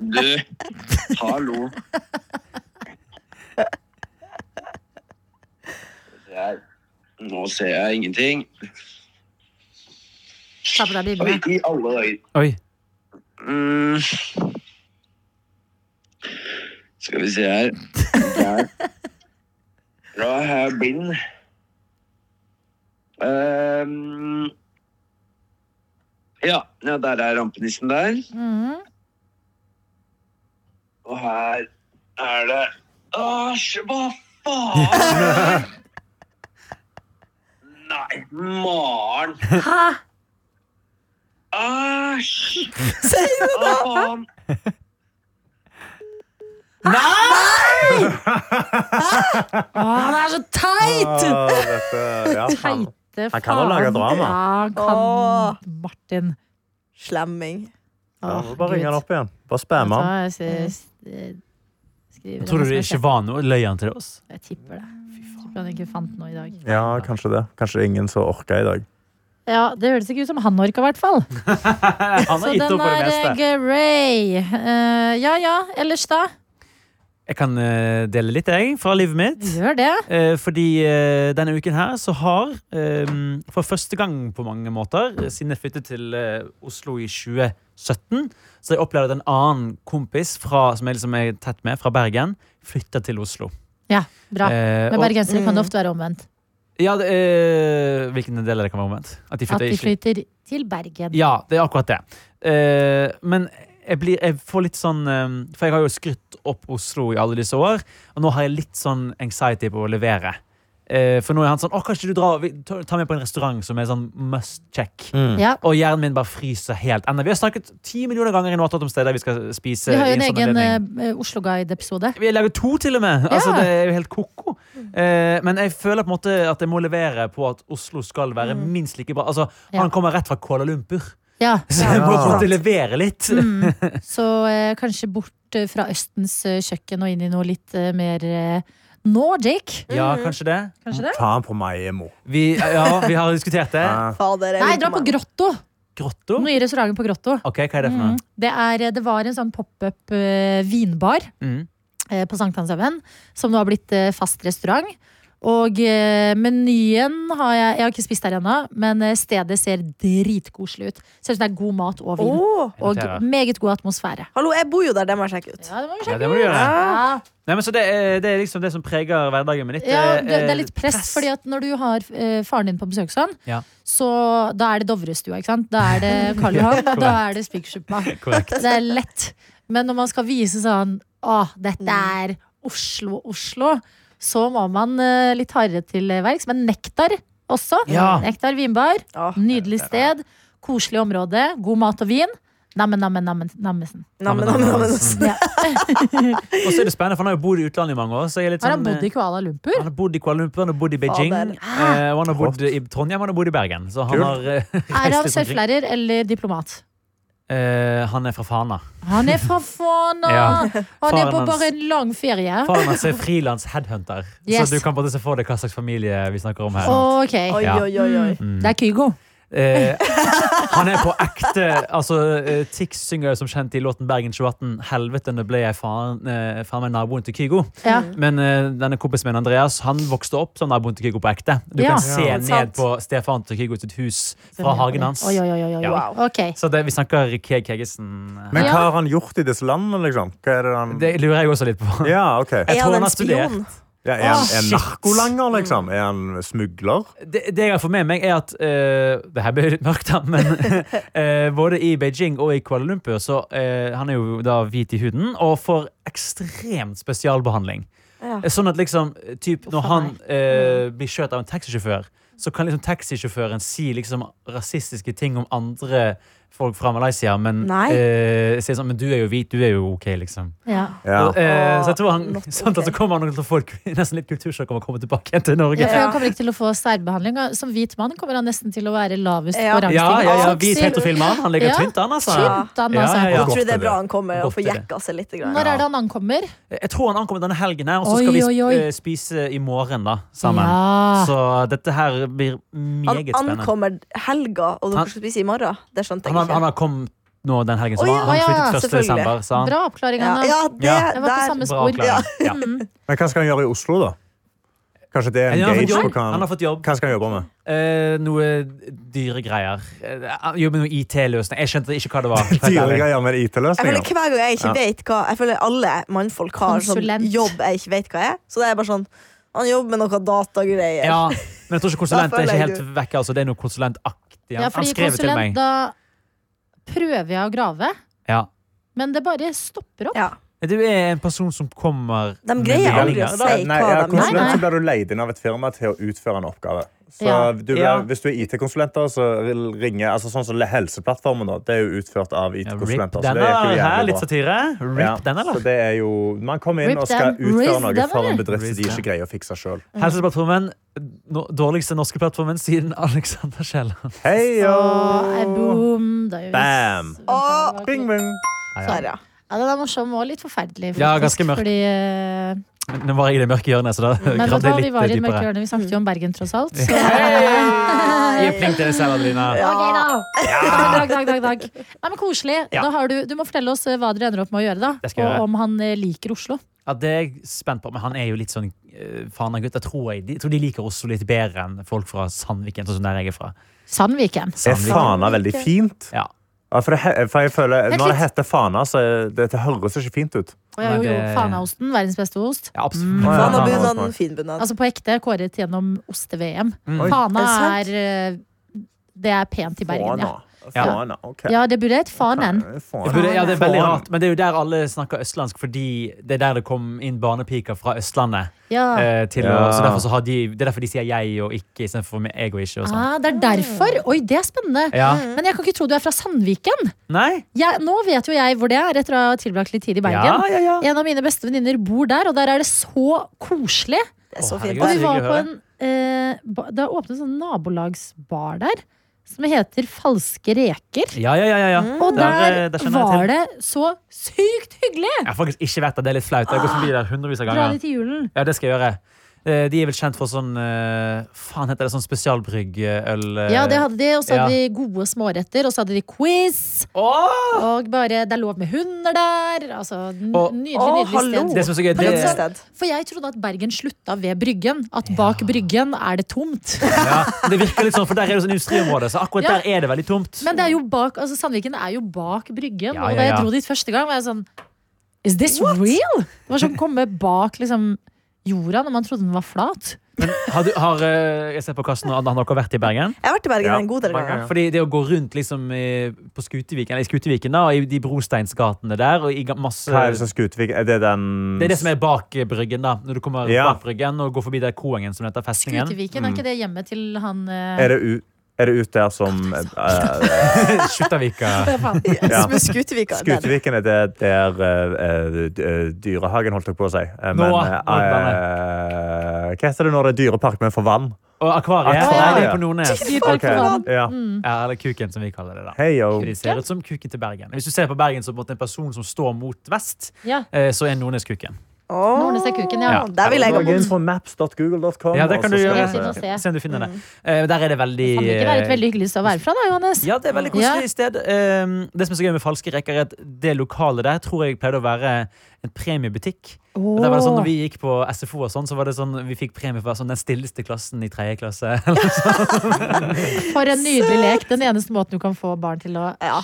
Speaker 6: Du, hallo. Der. Nå ser jeg ingenting.
Speaker 2: Ta på deg
Speaker 6: Oi,
Speaker 2: brillene.
Speaker 6: i alle dager.
Speaker 5: Oi.
Speaker 6: Mm. Skal vi se her. Der. Da er jeg blind. Ehm. ja, ja, der er rampenissen der.
Speaker 2: Mhm.
Speaker 6: Og her er det Æsj, hva faen? Nei, Maren.
Speaker 2: Hæ?
Speaker 6: Æsj!
Speaker 3: Sier du
Speaker 6: Hva faen?
Speaker 2: Å, det er så teit!
Speaker 4: Åh, dette- ja, faen.
Speaker 2: Teite faen.
Speaker 4: Han kan jo lage drama.
Speaker 2: Ja, han kan Martin.
Speaker 3: Slemming.
Speaker 4: Ja,
Speaker 2: Åh,
Speaker 4: må bare ringe han
Speaker 2: Gud.
Speaker 4: opp igjen. Bare spamme han.
Speaker 2: Vet du hva, jeg s- eh, skriver
Speaker 5: Tror
Speaker 2: en
Speaker 5: du det
Speaker 2: SMS,
Speaker 5: ikke var noe? Løy han til oss?
Speaker 2: Jeg Jeg tipper det. Tipper han ikke fant noe i dag.
Speaker 4: Ja, kanskje det. Kanskje det er ingen som orker i dag.
Speaker 2: Ja, Det høres ikke ut som han orka, i hvert fall.
Speaker 5: Han har
Speaker 2: Så
Speaker 5: gitt
Speaker 2: den
Speaker 5: opp på det
Speaker 2: er eh,
Speaker 5: meste.
Speaker 2: grey. Eh, ja ja, ellers da?
Speaker 5: Jeg kan eh, dele litt, jeg, fra livet mitt.
Speaker 2: Gjør det.
Speaker 5: Eh, fordi eh, denne uken her så har, eh, for første gang på mange måter, eh, siden jeg flyttet til eh, Oslo i 2017, så har jeg opplevd at en annen kompis fra, som jeg liksom er tett med, fra Bergen, flytta til Oslo.
Speaker 2: Ja, bra.
Speaker 5: Eh,
Speaker 2: Med
Speaker 5: og-
Speaker 2: bergensere kan det
Speaker 3: Mm.
Speaker 2: ofte være omvendt.
Speaker 5: Ja, det, eh, hvilken del av det kan være omvendt? At de
Speaker 2: At
Speaker 5: flytter
Speaker 2: de
Speaker 5: i Oslo?
Speaker 2: flyter til Bergen.
Speaker 5: Ja, det er akkurat det. Eh, men jeg, blir, jeg får litt sånn eh, For jeg har jo skrytt opp Oslo i alle disse år, og nå har jeg litt sånn anxiety på å levere. Eh, for nå er han sånn Å, kan ikke du dra vi- ta ta meg på en restaurant som er sånn must check?
Speaker 4: Mm.
Speaker 2: Ja.
Speaker 5: Og hjernen min bare fryser helt ennå. Vi har snakket ti millioner ganger i Nåttat om steder vi skal spise.
Speaker 2: Vi har jo
Speaker 5: i
Speaker 2: en
Speaker 5: sånn
Speaker 2: egen
Speaker 5: anledning.
Speaker 2: eh, Oslo-guide-episode.
Speaker 5: Vi lager to, til og med.
Speaker 2: Ja. Mm.
Speaker 5: Altså, det er jo helt koko. Eh, men jeg føler på en måte at jeg må levere på at Oslo skal være minst like bra. Altså,
Speaker 2: Mm. Ja.
Speaker 5: Han kommer rett fra Kuala Lumpur,
Speaker 2: Ja.
Speaker 5: så jeg må på en
Speaker 4: Ja.
Speaker 5: måte levere litt.
Speaker 2: Mm. Så eh, kanskje bort eh, fra Østens eh, kjøkken og inn i noe litt eh, mer eh, Nordic.
Speaker 5: Ja, kanskje det.
Speaker 2: Kanskje det?
Speaker 4: Ta han på Maiemo.
Speaker 5: Vi, ja, vi har diskutert det.
Speaker 4: Ja.
Speaker 3: Fader, jeg
Speaker 2: Nei,
Speaker 3: vil
Speaker 2: dra på
Speaker 3: meg.
Speaker 2: Grotto!
Speaker 5: Grotto?
Speaker 2: Nye restauranten på Grotto.
Speaker 5: Ok, hva er det for noe?
Speaker 2: Mm. Det, er, det var en sånn pop-up eh, vinbar
Speaker 5: Mm.
Speaker 2: eh, på Sankthanshaugen, som nå har blitt eh, fast restaurant. Og eh, menyen har jeg Jeg har ikke spist der ennå, men eh, stedet ser dritkoselig ut. Ser ut som det er god mat og vin.
Speaker 5: Oh!
Speaker 3: Åh,
Speaker 2: og
Speaker 5: noterer.
Speaker 2: meget god atmosfære.
Speaker 3: Hallo, jeg bor jo der. Det må jeg sjekke ut.
Speaker 2: Ja, det må vi
Speaker 5: Ja,
Speaker 2: sjekke
Speaker 5: det må du gjøre.
Speaker 2: Ja.
Speaker 5: Nei, men så det, er, det er liksom det som preger hverdagen min litt.
Speaker 2: Ja,
Speaker 5: eh,
Speaker 2: det, det er litt press,
Speaker 5: press.
Speaker 2: fordi at når du har eh, faren din på besøk sånn,
Speaker 5: Ja.
Speaker 2: så da er det Dovrestua, ikke sant? Da er det Karl Johan, og da er det Spikersuppa.
Speaker 5: Korrekt.
Speaker 2: Det er lett. Men når man skal vise sånn Å, dette er Oslo, Oslo, så må man eh, litt hardere til verks. Men Nektar også.
Speaker 5: Ja.
Speaker 2: Nektar vinbar.
Speaker 3: Åh,
Speaker 5: Mm.
Speaker 2: Nydelig sted. Koselig område. God mat og vin. Nammen, nammen, nammen, nammesen.
Speaker 3: Nammen, nammen, nammen.
Speaker 2: Ja.
Speaker 5: Og så er det spennende, for han har jo bodd i utlandet i mange år. Så jeg er litt
Speaker 2: Har
Speaker 5: sånn,
Speaker 2: han bodd i Kuala Ah. Lumpur?
Speaker 5: Han har bodd i Kuala Lumpur, han har bodd i Beijing,
Speaker 3: Fader.
Speaker 5: eh, og han har bodd i Trondheim og han har bodd i Bergen. Så
Speaker 4: Kult.
Speaker 5: han, har, eh,
Speaker 2: Er han
Speaker 5: litt omkring.
Speaker 2: surflærer eller diplomat?
Speaker 5: eh, han er fra Fana.
Speaker 2: Han er fra Fana!
Speaker 5: Ja.
Speaker 2: Han er
Speaker 5: Faren
Speaker 2: på
Speaker 5: hans-
Speaker 2: bare en lang ferie.
Speaker 5: Faren hans er frilans headhunter,
Speaker 2: Ah. Yes.
Speaker 5: så du kan bare se for deg hva slags familie vi snakker om her.
Speaker 2: Ok.
Speaker 3: Oi,
Speaker 5: Ja.
Speaker 3: oi, oi. oi.
Speaker 2: Mm. Det er Kygo.
Speaker 5: Eh, han er på ekte altså, eh, Tix synger som kjent i låten Bergen 2018 'Helvete, nå ble jeg faen, eh, faen meg naboen til Kygo'.
Speaker 2: Ja.
Speaker 5: Men eh, denne kompisen min Andreas Han vokste opp som naboen til Kygo på ekte. Du
Speaker 2: Ja.
Speaker 5: kan se
Speaker 3: Ja.
Speaker 5: ned
Speaker 3: Sant.
Speaker 5: på stefaren til Kygo sitt hus fra hagen hans.
Speaker 2: Oi, oi, oi, oi, oi.
Speaker 5: Ja.
Speaker 2: Ok.
Speaker 5: Så det, vi snakker Keg Keggesen. her.
Speaker 4: Men
Speaker 2: Ja.
Speaker 4: hva har han gjort i disse landene, liksom? Hva er det han...
Speaker 5: Det lurer jeg også litt på.
Speaker 4: Ja, ok.
Speaker 5: Jeg
Speaker 3: Er
Speaker 5: tror
Speaker 3: han en
Speaker 5: han har studert.
Speaker 3: spion?
Speaker 4: Ja, er han er
Speaker 5: Shit.
Speaker 4: han narkolanger, liksom? Er han smugler?
Speaker 5: Det, det jeg har fått med meg, er at eh, Det her blir litt mørkt, da, men eh, både i Beijing og i Kuala Lumpur så eh, Han er jo da hvit i huden og får ekstremt spesialbehandling.
Speaker 3: Ja.
Speaker 5: Eh, Sånn at liksom, eh, typ, når
Speaker 2: Uff a
Speaker 5: han eh,
Speaker 3: Mm.
Speaker 5: blir kjørt av en taxisjåfør, så kan liksom taxisjåføren si liksom rasistiske ting om andre folk fra Malaysia, men
Speaker 3: Nei.
Speaker 5: eh, si sånn, men du er jo hvit, du er jo ok, liksom.
Speaker 2: Ja.
Speaker 4: Ja.
Speaker 5: Og, eh, så jeg tror han,
Speaker 3: Åh, not
Speaker 5: sant, at
Speaker 3: ok.
Speaker 5: så kommer han nok til å få nesten litt kultursjokk om å komme tilbake igjen til Norge.
Speaker 2: Ja, for
Speaker 3: Ja.
Speaker 2: han kommer ikke til å få særbehandling. og Som hvit mann kommer han nesten til å være lavest
Speaker 3: Ja.
Speaker 2: på rangstigen.
Speaker 5: Ja, ja, ja,
Speaker 2: Folk
Speaker 5: hvit
Speaker 2: sier-
Speaker 5: heterofil mann. Han ligger
Speaker 2: Ja.
Speaker 5: tynt an, altså.
Speaker 2: Skynd han,
Speaker 5: Ja,
Speaker 2: altså.
Speaker 5: ja, ja.
Speaker 3: Jeg tror det
Speaker 4: Godt
Speaker 3: er
Speaker 4: er det.
Speaker 3: bra han kommer og
Speaker 5: Godt
Speaker 3: får
Speaker 5: er det.
Speaker 3: jekka seg litt. Grann.
Speaker 2: Når er det han ankommer?
Speaker 5: Jeg tror han ankommer denne helgen, her, og så
Speaker 2: Oi,
Speaker 5: skal vi
Speaker 2: oi, oi.
Speaker 5: eh, spise i morgen da, sammen.
Speaker 2: Ja.
Speaker 5: Så dette her blir
Speaker 3: Han
Speaker 5: meget spennende.
Speaker 3: ankommer helga, og dere
Speaker 5: Han-
Speaker 3: skal spise i morgen. Det skjønte
Speaker 5: Han
Speaker 3: jeg
Speaker 5: har, han
Speaker 3: ikke.
Speaker 5: har kommet nå den helgen, så
Speaker 3: Å, ja,
Speaker 5: han, han
Speaker 2: ja,
Speaker 5: flyttet 1.
Speaker 3: selvfølgelig.
Speaker 5: desember. Så han,
Speaker 2: Bra oppklaring,
Speaker 3: Ja,
Speaker 2: Anna. Mm.
Speaker 3: ja, det,
Speaker 5: Ja.
Speaker 2: Det var på
Speaker 3: der
Speaker 2: samme
Speaker 5: Bra
Speaker 2: spor.
Speaker 5: avklaring. Ja.
Speaker 4: Men hva skal han gjøre i Oslo, da? Kanskje det er
Speaker 5: Han
Speaker 4: en
Speaker 5: har fått
Speaker 4: gauge på
Speaker 5: jobb.
Speaker 4: hva
Speaker 5: Han
Speaker 4: han,
Speaker 5: har fått jobb.
Speaker 4: hva skal han jobbe med?
Speaker 5: Eh, noe dyre greier. Eh, han jobber med noe IT-løsning. Jeg skjønte ikke hva det var.
Speaker 4: Dyre
Speaker 5: Helt ærlig.
Speaker 4: greier
Speaker 3: Jeg
Speaker 4: med
Speaker 3: føler
Speaker 4: IT-løsninger?
Speaker 3: hver gang jeg ikke
Speaker 4: Ja.
Speaker 3: vet hva Jeg føler alle mannfolk har sånn
Speaker 2: Konsulent.
Speaker 3: jobb jeg ikke vet hva er. Så det er bare sånn Han jobber med noe datagreier.
Speaker 5: Ja, men jeg tror ikke konsulent
Speaker 3: Da
Speaker 5: er
Speaker 3: føler
Speaker 5: ikke
Speaker 3: jeg
Speaker 5: helt vekk. Altså. Det er noe konsulentaktig. Han,
Speaker 2: Ja,
Speaker 5: han
Speaker 2: fordi
Speaker 5: skrev det til
Speaker 2: konsulent,
Speaker 5: meg.
Speaker 2: da prøver jeg å grave,
Speaker 5: Ja.
Speaker 2: men det bare stopper opp.
Speaker 3: Ja.
Speaker 5: Du er en person som kommer
Speaker 3: De
Speaker 5: med
Speaker 3: greier aldri
Speaker 5: meldinger.
Speaker 3: å
Speaker 5: Da-
Speaker 3: si
Speaker 4: Nei,
Speaker 3: hva
Speaker 4: ja,
Speaker 3: de
Speaker 2: Nei,
Speaker 4: konsulent
Speaker 2: nei.
Speaker 4: så blir du leid inn av et firma til å utføre en oppgave. Så
Speaker 2: Ja.
Speaker 4: du blir,
Speaker 5: Ja.
Speaker 4: Hvis du er IT-konsulenter, så ringer altså Sånn som Helseplattformen, da. Det er jo utført av
Speaker 5: Ja, Rip
Speaker 4: IT-konsulenter. så
Speaker 5: den,
Speaker 4: det gikk jo
Speaker 5: da.
Speaker 4: jævlig
Speaker 5: Her,
Speaker 4: bra.
Speaker 5: litt satire. Rip
Speaker 4: Ja,
Speaker 5: den,
Speaker 4: så
Speaker 5: eller?
Speaker 4: det er jo, man kommer inn
Speaker 2: Rip
Speaker 4: og skal
Speaker 2: them.
Speaker 4: utføre
Speaker 2: Raise
Speaker 4: noe
Speaker 2: them,
Speaker 4: for en
Speaker 2: eller?
Speaker 4: bedrift som
Speaker 5: Raise
Speaker 4: de ikke
Speaker 5: them.
Speaker 4: greier å fikse sjøl.
Speaker 5: Helseplattformen. no- Dårligste norske plattformen siden Alexander Kielland.
Speaker 4: Heio!
Speaker 2: Og jeg boom, da gjør vi
Speaker 4: Bam.
Speaker 2: s-
Speaker 3: Å,
Speaker 4: Bing, bing.
Speaker 5: Ja,
Speaker 3: Der, ja.
Speaker 2: Ja, den er morsom og litt forferdelig.
Speaker 5: Ja,
Speaker 2: faktisk,
Speaker 5: ganske mørk.
Speaker 2: Fordi, eh,
Speaker 5: ja. Nå var jeg i det mørke hjørnet, så da
Speaker 2: men vet
Speaker 5: gravde
Speaker 2: du hva,
Speaker 5: jeg
Speaker 2: vi var i
Speaker 5: litt
Speaker 2: det mørke
Speaker 5: dypere.
Speaker 2: hjørnet. Vi snakket jo om Bergen, tross alt. Så.
Speaker 5: Hei! Gi flink til deg selv, Adelina.
Speaker 2: Ok, da. Dag, dag, dag, dag. Nei, men koselig.
Speaker 5: Ja.
Speaker 2: Da har du, du må fortelle oss eh, hva dere ender opp med å gjøre, da.
Speaker 5: Det skal jeg gjøre.
Speaker 2: Og om han eh, liker Oslo.
Speaker 5: Ja, det er jeg spent på, men han er jo litt sånn uh, gutt. Jeg tror, jeg, de- jeg tror de liker Oslo litt bedre enn folk fra Sandviken, sånn som der jeg er fra.
Speaker 2: Sandviken.
Speaker 4: Er Fana veldig fint?
Speaker 5: Ja.
Speaker 4: Ja, for, det, he- for jeg føler,
Speaker 2: Vent
Speaker 4: Når det
Speaker 2: litt.
Speaker 4: heter Fana, så er det, det høres ikke fint ut.
Speaker 2: Og jeg har
Speaker 5: Nei,
Speaker 2: jo
Speaker 5: det-
Speaker 2: Fanaosten, verdens beste ost.
Speaker 5: Ja,
Speaker 4: Å,
Speaker 5: absolutt.
Speaker 4: ja.
Speaker 5: Fana,
Speaker 4: Fana,
Speaker 5: Fana.
Speaker 3: Fanabunaden, finbunaden.
Speaker 2: Altså på ekte kåret gjennom oste-VM.
Speaker 5: Mm.
Speaker 2: Fana
Speaker 3: Er
Speaker 2: er eh, Det er pent i Bergen, ja.
Speaker 4: Fana. Fana, ok.
Speaker 2: Ja, det burde hett Fanen.
Speaker 5: Det
Speaker 4: Fana.
Speaker 5: burde, ja, det er veldig
Speaker 4: Fana.
Speaker 5: rart, men det er jo der alle snakker østlandsk, fordi det er der det kom inn barnepiker fra Østlandet.
Speaker 2: Ja.
Speaker 5: eh, til å,
Speaker 4: Ja.
Speaker 5: så derfor så har de, det er derfor de sier jeg og ikke istedenfor meg- jeg og ikke. Og sånn.
Speaker 2: Ah, det er derfor. Oi, det er spennende.
Speaker 5: Ja.
Speaker 2: Men jeg kan ikke tro du er fra Sandviken.
Speaker 5: Nei?
Speaker 2: Jeg, nå vet jo jeg hvor det er, etter å ha tilbrakt litt tid i
Speaker 5: Ja,
Speaker 2: Bergen.
Speaker 5: ja, ja.
Speaker 2: En av mine beste venninner bor der, og der er det så koselig.
Speaker 3: Det er så
Speaker 5: Å,
Speaker 3: fint.
Speaker 2: Og vi
Speaker 3: der.
Speaker 5: herregud. hyggelig
Speaker 2: var
Speaker 5: å
Speaker 2: på en eh, ba- Det har åpnet en sånn nabolagsbar der som heter Falske reker.
Speaker 5: Ja, ja, ja, ja, ja.
Speaker 2: Mm. Og der,
Speaker 5: eh, der kjenner jeg
Speaker 2: var
Speaker 5: til.
Speaker 2: det så sykt hyggelig!
Speaker 5: Jeg har faktisk ikke vært der. Det er litt flaut. Jeg har gått forbi der hundrevis av
Speaker 2: Dra
Speaker 5: ganger.
Speaker 2: dit til julen.
Speaker 5: Ja, det skal jeg gjøre. Eh, De er vel kjent for sånn eh, Faen, heter det sånn spesialbryggøl? eh?
Speaker 2: Ja, det hadde de. Og så
Speaker 5: ja.
Speaker 2: hadde de gode småretter, og så hadde de quiz.
Speaker 5: Åh!
Speaker 2: Og bare Det er lov med hunder der. Altså, n-
Speaker 5: Og-
Speaker 2: nydelig,
Speaker 3: Å,
Speaker 2: nydelig
Speaker 3: hallo.
Speaker 5: Det
Speaker 2: sted.
Speaker 5: som er så gøy,
Speaker 3: For
Speaker 5: det
Speaker 3: et sted.
Speaker 2: For jeg trodde at Bergen slutta ved Bryggen. At bak Bryggen er det tomt.
Speaker 5: ja, Det virker litt sånn, for der er det sånn industriområde, så akkurat
Speaker 2: Ja.
Speaker 5: der er det veldig tomt.
Speaker 2: Men det er jo bak, altså Sandviken er jo bak Bryggen.
Speaker 5: Ja,
Speaker 2: Og
Speaker 5: ja,
Speaker 2: da jeg
Speaker 5: ja.
Speaker 2: dro dit første gang, var jeg sånn Is this real? Det var som å komme bak liksom, jorda når man trodde den var flat.
Speaker 5: Men har, du, har eh, jeg ser på Karsten, og Anna, har dere vært i Bergen?
Speaker 3: Jeg har vært i Bergen
Speaker 4: Ja.
Speaker 3: en god del
Speaker 4: Mange
Speaker 3: ganger.
Speaker 4: ganger.
Speaker 5: Fordi det å gå rundt liksom i- på Skuteviken, eller i Skuteviken da, og i de brosteinsgatene der, og i ga- masse
Speaker 4: Hva er det som skutvik? Er det den
Speaker 5: Eh, Det er det som er bak eh, bryggen, da. Når du kommer
Speaker 4: Ja.
Speaker 5: bak bryggen og går forbi der koengen som heter festningen.
Speaker 2: Skuteviken, er ikke det hjemmet til han eh,
Speaker 4: Er det, u, er det ut der som eh,
Speaker 5: Skjuttavika.
Speaker 2: faen.
Speaker 4: Ja.
Speaker 3: Som er Skutevika. der.
Speaker 4: Skuteviken er det der eh, eh, d- eh, Dyrehagen, holdt jeg på å si. Eh, Men eh,
Speaker 5: Nå, nå er det
Speaker 4: eh, Hva heter det når det er dyrepark, men for vann?
Speaker 5: Og akvariet.
Speaker 4: Akvariet.
Speaker 5: Nei, det er på Nordnes.
Speaker 2: Vi er bak
Speaker 4: Ok,
Speaker 2: for vann. Mm.
Speaker 4: Ja.
Speaker 5: Ja, eller Kuken, som vi kaller det. da.
Speaker 4: Hei, yo.
Speaker 5: Fordi Det ser ut som kuken til Bergen. Hvis du ser på Bergen som på en måte en person som står mot vest,
Speaker 2: Ja.
Speaker 5: eh, så er Nordnes kuken.
Speaker 4: Sånn
Speaker 3: Åh.
Speaker 2: Nordnes er kuken, ja.
Speaker 5: Ja.
Speaker 3: Der vil jeg
Speaker 4: Logg
Speaker 3: gå
Speaker 4: inn
Speaker 3: bort.
Speaker 4: på maps.google.com.
Speaker 5: Ja, det kan du gjøre.
Speaker 2: skal vi se.
Speaker 5: Se om du finner det.
Speaker 2: Mm.
Speaker 5: Eh, Der er det veldig
Speaker 2: Sandviken er et veldig hyggelig sted å være fra, da, Johannes.
Speaker 5: Ja, det er veldig
Speaker 2: Ja.
Speaker 5: koselig sted. Eh, Det som er så gøy med falske rekker, er at det lokalet der tror jeg pleide å være en premiebutikk. Og Der var det sånn, når vi gikk på SFO, og sånn, så var det sånn, vi fikk premie for å være sånn, den stilleste klassen i tredje klasse.
Speaker 2: For en nydelig lek. Den eneste måten du kan få barn til å
Speaker 3: Ja.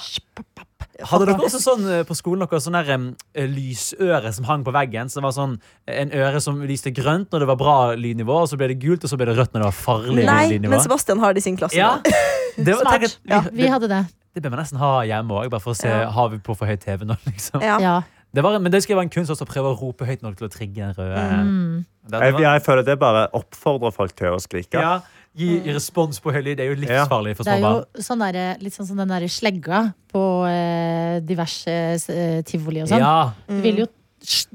Speaker 5: Hadde dere også sånn eh, på skolen dere sånn der, em, eh, lysøre som hang på veggen? Som var sånn eh, En øre som lyste grønt når det var bra lydnivå, og så ble det gult, og så ble det rødt når det var farlig
Speaker 3: Nei,
Speaker 5: lydnivå?
Speaker 3: men Sebastian har det i sin klasse.
Speaker 5: ja.
Speaker 3: nå.
Speaker 5: det, var, tenk
Speaker 2: Smart.
Speaker 5: at, vi,
Speaker 2: Ja, vi
Speaker 5: det,
Speaker 2: hadde det.
Speaker 5: det bør man nesten ha hjemme òg, bare for å se
Speaker 3: Ja.
Speaker 5: har vi på for høy TV nå. Liksom.
Speaker 3: Ja.
Speaker 2: Ja.
Speaker 5: Det var, en- men det skulle være en kunst også å prøve å rope høyt nok til å trigge den røde.
Speaker 2: Mm.
Speaker 5: Det- det
Speaker 4: Jeg,
Speaker 5: var-
Speaker 4: jeg føler det bare oppfordrer folk til å skrike.
Speaker 5: ja, gi gi respons på høy lyd. Det er jo livsfarlig for
Speaker 2: Mm. Det
Speaker 5: små
Speaker 2: er
Speaker 5: barn.
Speaker 2: jo sånn der, litt sånn som den derre slegga på eh, diverse eh, tivoli og sånn.
Speaker 5: Ja,
Speaker 2: Du vil jo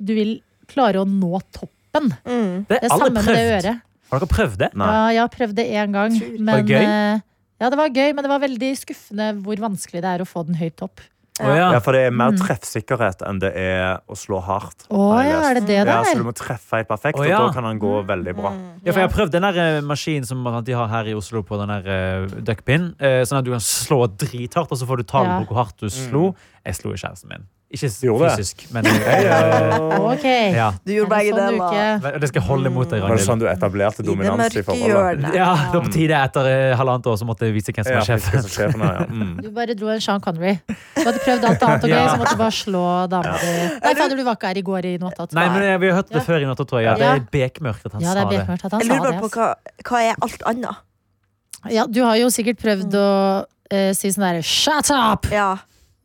Speaker 2: du vil klare å nå toppen.
Speaker 3: Mm.
Speaker 5: det
Speaker 2: Det
Speaker 5: er
Speaker 2: er
Speaker 5: alle
Speaker 2: samme med det
Speaker 5: prøvd.
Speaker 2: øret.
Speaker 5: Har dere prøvd det?
Speaker 4: Nei.
Speaker 2: Ja, jeg har prøvd det én gang. Men,
Speaker 5: Var det gøy?
Speaker 2: eh, Ja, det var gøy, men det var veldig skuffende hvor vanskelig det er å få den høyt opp.
Speaker 5: Å ja.
Speaker 4: Ja, for det er mer treffsikkerhet enn det er å slå hardt.
Speaker 2: Mm. Å
Speaker 4: har jeg
Speaker 2: ja,
Speaker 4: lest.
Speaker 2: er det det
Speaker 4: Ja, så
Speaker 2: der? Mm.
Speaker 4: du må treffe helt perfekt,
Speaker 5: Å, ja.
Speaker 4: og da kan han gå veldig bra.
Speaker 5: Ja, for jeg har prøvd den der eh, maskinen som man- de har her i Oslo på den der eh, duckpin. eh, Sånn at du kan slå drithardt, og så får du tall
Speaker 2: Ja.
Speaker 5: på hvor hardt du slo. Jeg slo i kjæresten min. Ikke s-
Speaker 4: Mm. Gjorde det?
Speaker 5: fysisk, men eh,
Speaker 2: Ok.
Speaker 5: ja.
Speaker 3: Du
Speaker 2: Er det
Speaker 3: gjorde begge
Speaker 2: sånn du
Speaker 3: deler.
Speaker 2: ikke-
Speaker 5: Og det skal jeg holde imot deg,
Speaker 4: Var det
Speaker 5: Ragnhild.
Speaker 4: sånn du etablerte
Speaker 3: I det
Speaker 4: dominans i
Speaker 3: mørke
Speaker 4: forholdet?
Speaker 3: hjørnet.
Speaker 5: Ja, det var på tide etter eh, halvannet år så måtte jeg vise hvem som
Speaker 4: Ja,
Speaker 5: var sjef.
Speaker 4: fisker som sjefen er, ja. Mm.
Speaker 2: Du bare dro en Sean Connery. Du hadde prøvd alt annet og gøy,
Speaker 5: Ja.
Speaker 2: så måtte du bare slå dama di. Nei, fader, du var ikke her i går i natt. at-
Speaker 5: Nei, men eh, vi har hørt det før i natt, tror jeg. at Det
Speaker 2: Ja.
Speaker 5: er bekmørkt at han
Speaker 2: Ja, det
Speaker 5: sa
Speaker 2: er
Speaker 5: det.
Speaker 2: bekmørkt at han
Speaker 3: Jeg
Speaker 2: sa
Speaker 3: lurer
Speaker 2: det.
Speaker 3: bare på
Speaker 2: ass.
Speaker 3: hva, hva er alt annet?
Speaker 2: Ja, du har jo sikkert prøvd å eh, si sånn derre 'shut up',
Speaker 3: Ja.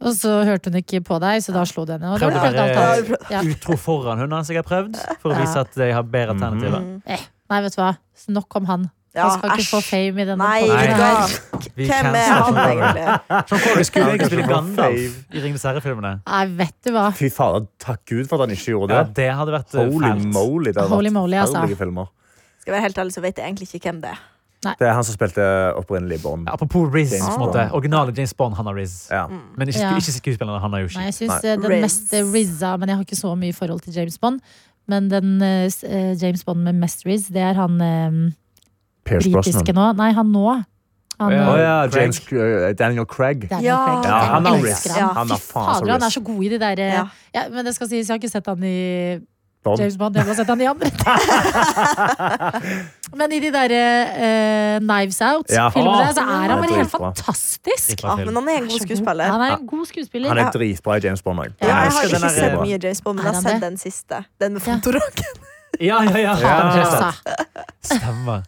Speaker 2: og så hørte hun ikke på deg, så da slo du henne. Og da har du
Speaker 5: Prøvde å
Speaker 2: prøvd alt annet.
Speaker 5: være
Speaker 2: Ja.
Speaker 5: utro foran hun har sikkert prøvd, for å
Speaker 2: Ja.
Speaker 5: vise at jeg har bedre
Speaker 4: Mhm.
Speaker 5: alternativer.
Speaker 3: Mm.
Speaker 2: Nei, vet du hva. Nok om han.
Speaker 3: Ja,
Speaker 2: han skal ikke få
Speaker 3: æsj.
Speaker 2: fame i denne
Speaker 3: Nei,
Speaker 2: podden
Speaker 5: vet du
Speaker 2: her.
Speaker 5: hva?
Speaker 3: galt.
Speaker 5: Vi
Speaker 3: Hvem er
Speaker 5: canceler
Speaker 3: han
Speaker 5: Sean Connery.
Speaker 3: egentlig?
Speaker 5: Sean Connery skulle
Speaker 4: Han
Speaker 5: egentlig
Speaker 4: kanskje
Speaker 5: spille
Speaker 4: får
Speaker 5: Gandalf i Ringenes herre-filmene.
Speaker 2: Nei, vet du hva.
Speaker 4: Fy fader, takk Gud for at han ikke gjorde
Speaker 5: Ja,
Speaker 4: det.
Speaker 5: det hadde vært eh,
Speaker 4: Holy
Speaker 5: fælt.
Speaker 4: moly, det har
Speaker 2: Holy
Speaker 4: vært
Speaker 2: moly, altså.
Speaker 4: forferdelige filmer.
Speaker 3: Skal jeg være helt ærlig, så vet jeg egentlig ikke hvem det er.
Speaker 4: Det er han som spilte opprinnelig Bond.
Speaker 5: Ja, Apropos Riz,
Speaker 4: James
Speaker 5: på en måte.
Speaker 4: Bond.
Speaker 5: Originale James Bond, han har Riz.
Speaker 4: Ja.
Speaker 3: Mm.
Speaker 5: Men ikke,
Speaker 2: Ja.
Speaker 5: ikke skuespillerne, han har jo
Speaker 2: Nei,
Speaker 5: ikke.
Speaker 2: jeg syns
Speaker 4: Nei.
Speaker 2: eh, den
Speaker 3: Riz.
Speaker 2: mest eh, Rizza, men jeg har ikke så mye forhold til James Bond. Men den eh, s- eh, James Bond med mest Riz, det er han eh,
Speaker 4: Pierce
Speaker 2: britiske
Speaker 4: Brosnan.
Speaker 2: nå. Nei, han nå. Han,
Speaker 5: Å,
Speaker 2: eh,
Speaker 5: ja,
Speaker 4: James,
Speaker 5: James
Speaker 4: eh, Daniel Craig.
Speaker 2: Daniel
Speaker 3: Ja.
Speaker 2: Craig.
Speaker 4: Ja, han
Speaker 2: Jeg
Speaker 4: har
Speaker 2: elsker
Speaker 4: Riz.
Speaker 2: han.
Speaker 3: Ja.
Speaker 4: Han er faen så
Speaker 2: Fader, han er
Speaker 4: Riz.
Speaker 2: så god i de der eh,
Speaker 3: Ja.
Speaker 2: ja, Men det skal sies, jeg har ikke sett han i
Speaker 4: Bond.
Speaker 2: James Bond, jeg må ha sett han i andre. Men i de der eh, Knives
Speaker 4: Ja.
Speaker 2: Out-filmene, så er han
Speaker 4: Det er
Speaker 2: bare helt
Speaker 4: dritbra.
Speaker 2: fantastisk.
Speaker 3: Ja, Ah, men han er en god skuespiller.
Speaker 2: Han er en god skuespiller.
Speaker 4: Han er
Speaker 3: Ja.
Speaker 4: dritbra i James Bond òg.
Speaker 2: Ja,
Speaker 3: Ja, jeg
Speaker 5: elsker
Speaker 3: har ikke
Speaker 5: den der-
Speaker 3: sett mye James Bond, men
Speaker 2: Er
Speaker 3: jeg har
Speaker 2: han
Speaker 3: sett
Speaker 2: det?
Speaker 3: den siste. Den med
Speaker 2: Ja.
Speaker 3: fotoraken.
Speaker 5: Ja, ja, ja.
Speaker 2: Fader,
Speaker 5: ja.
Speaker 2: altså.
Speaker 5: Stemmer.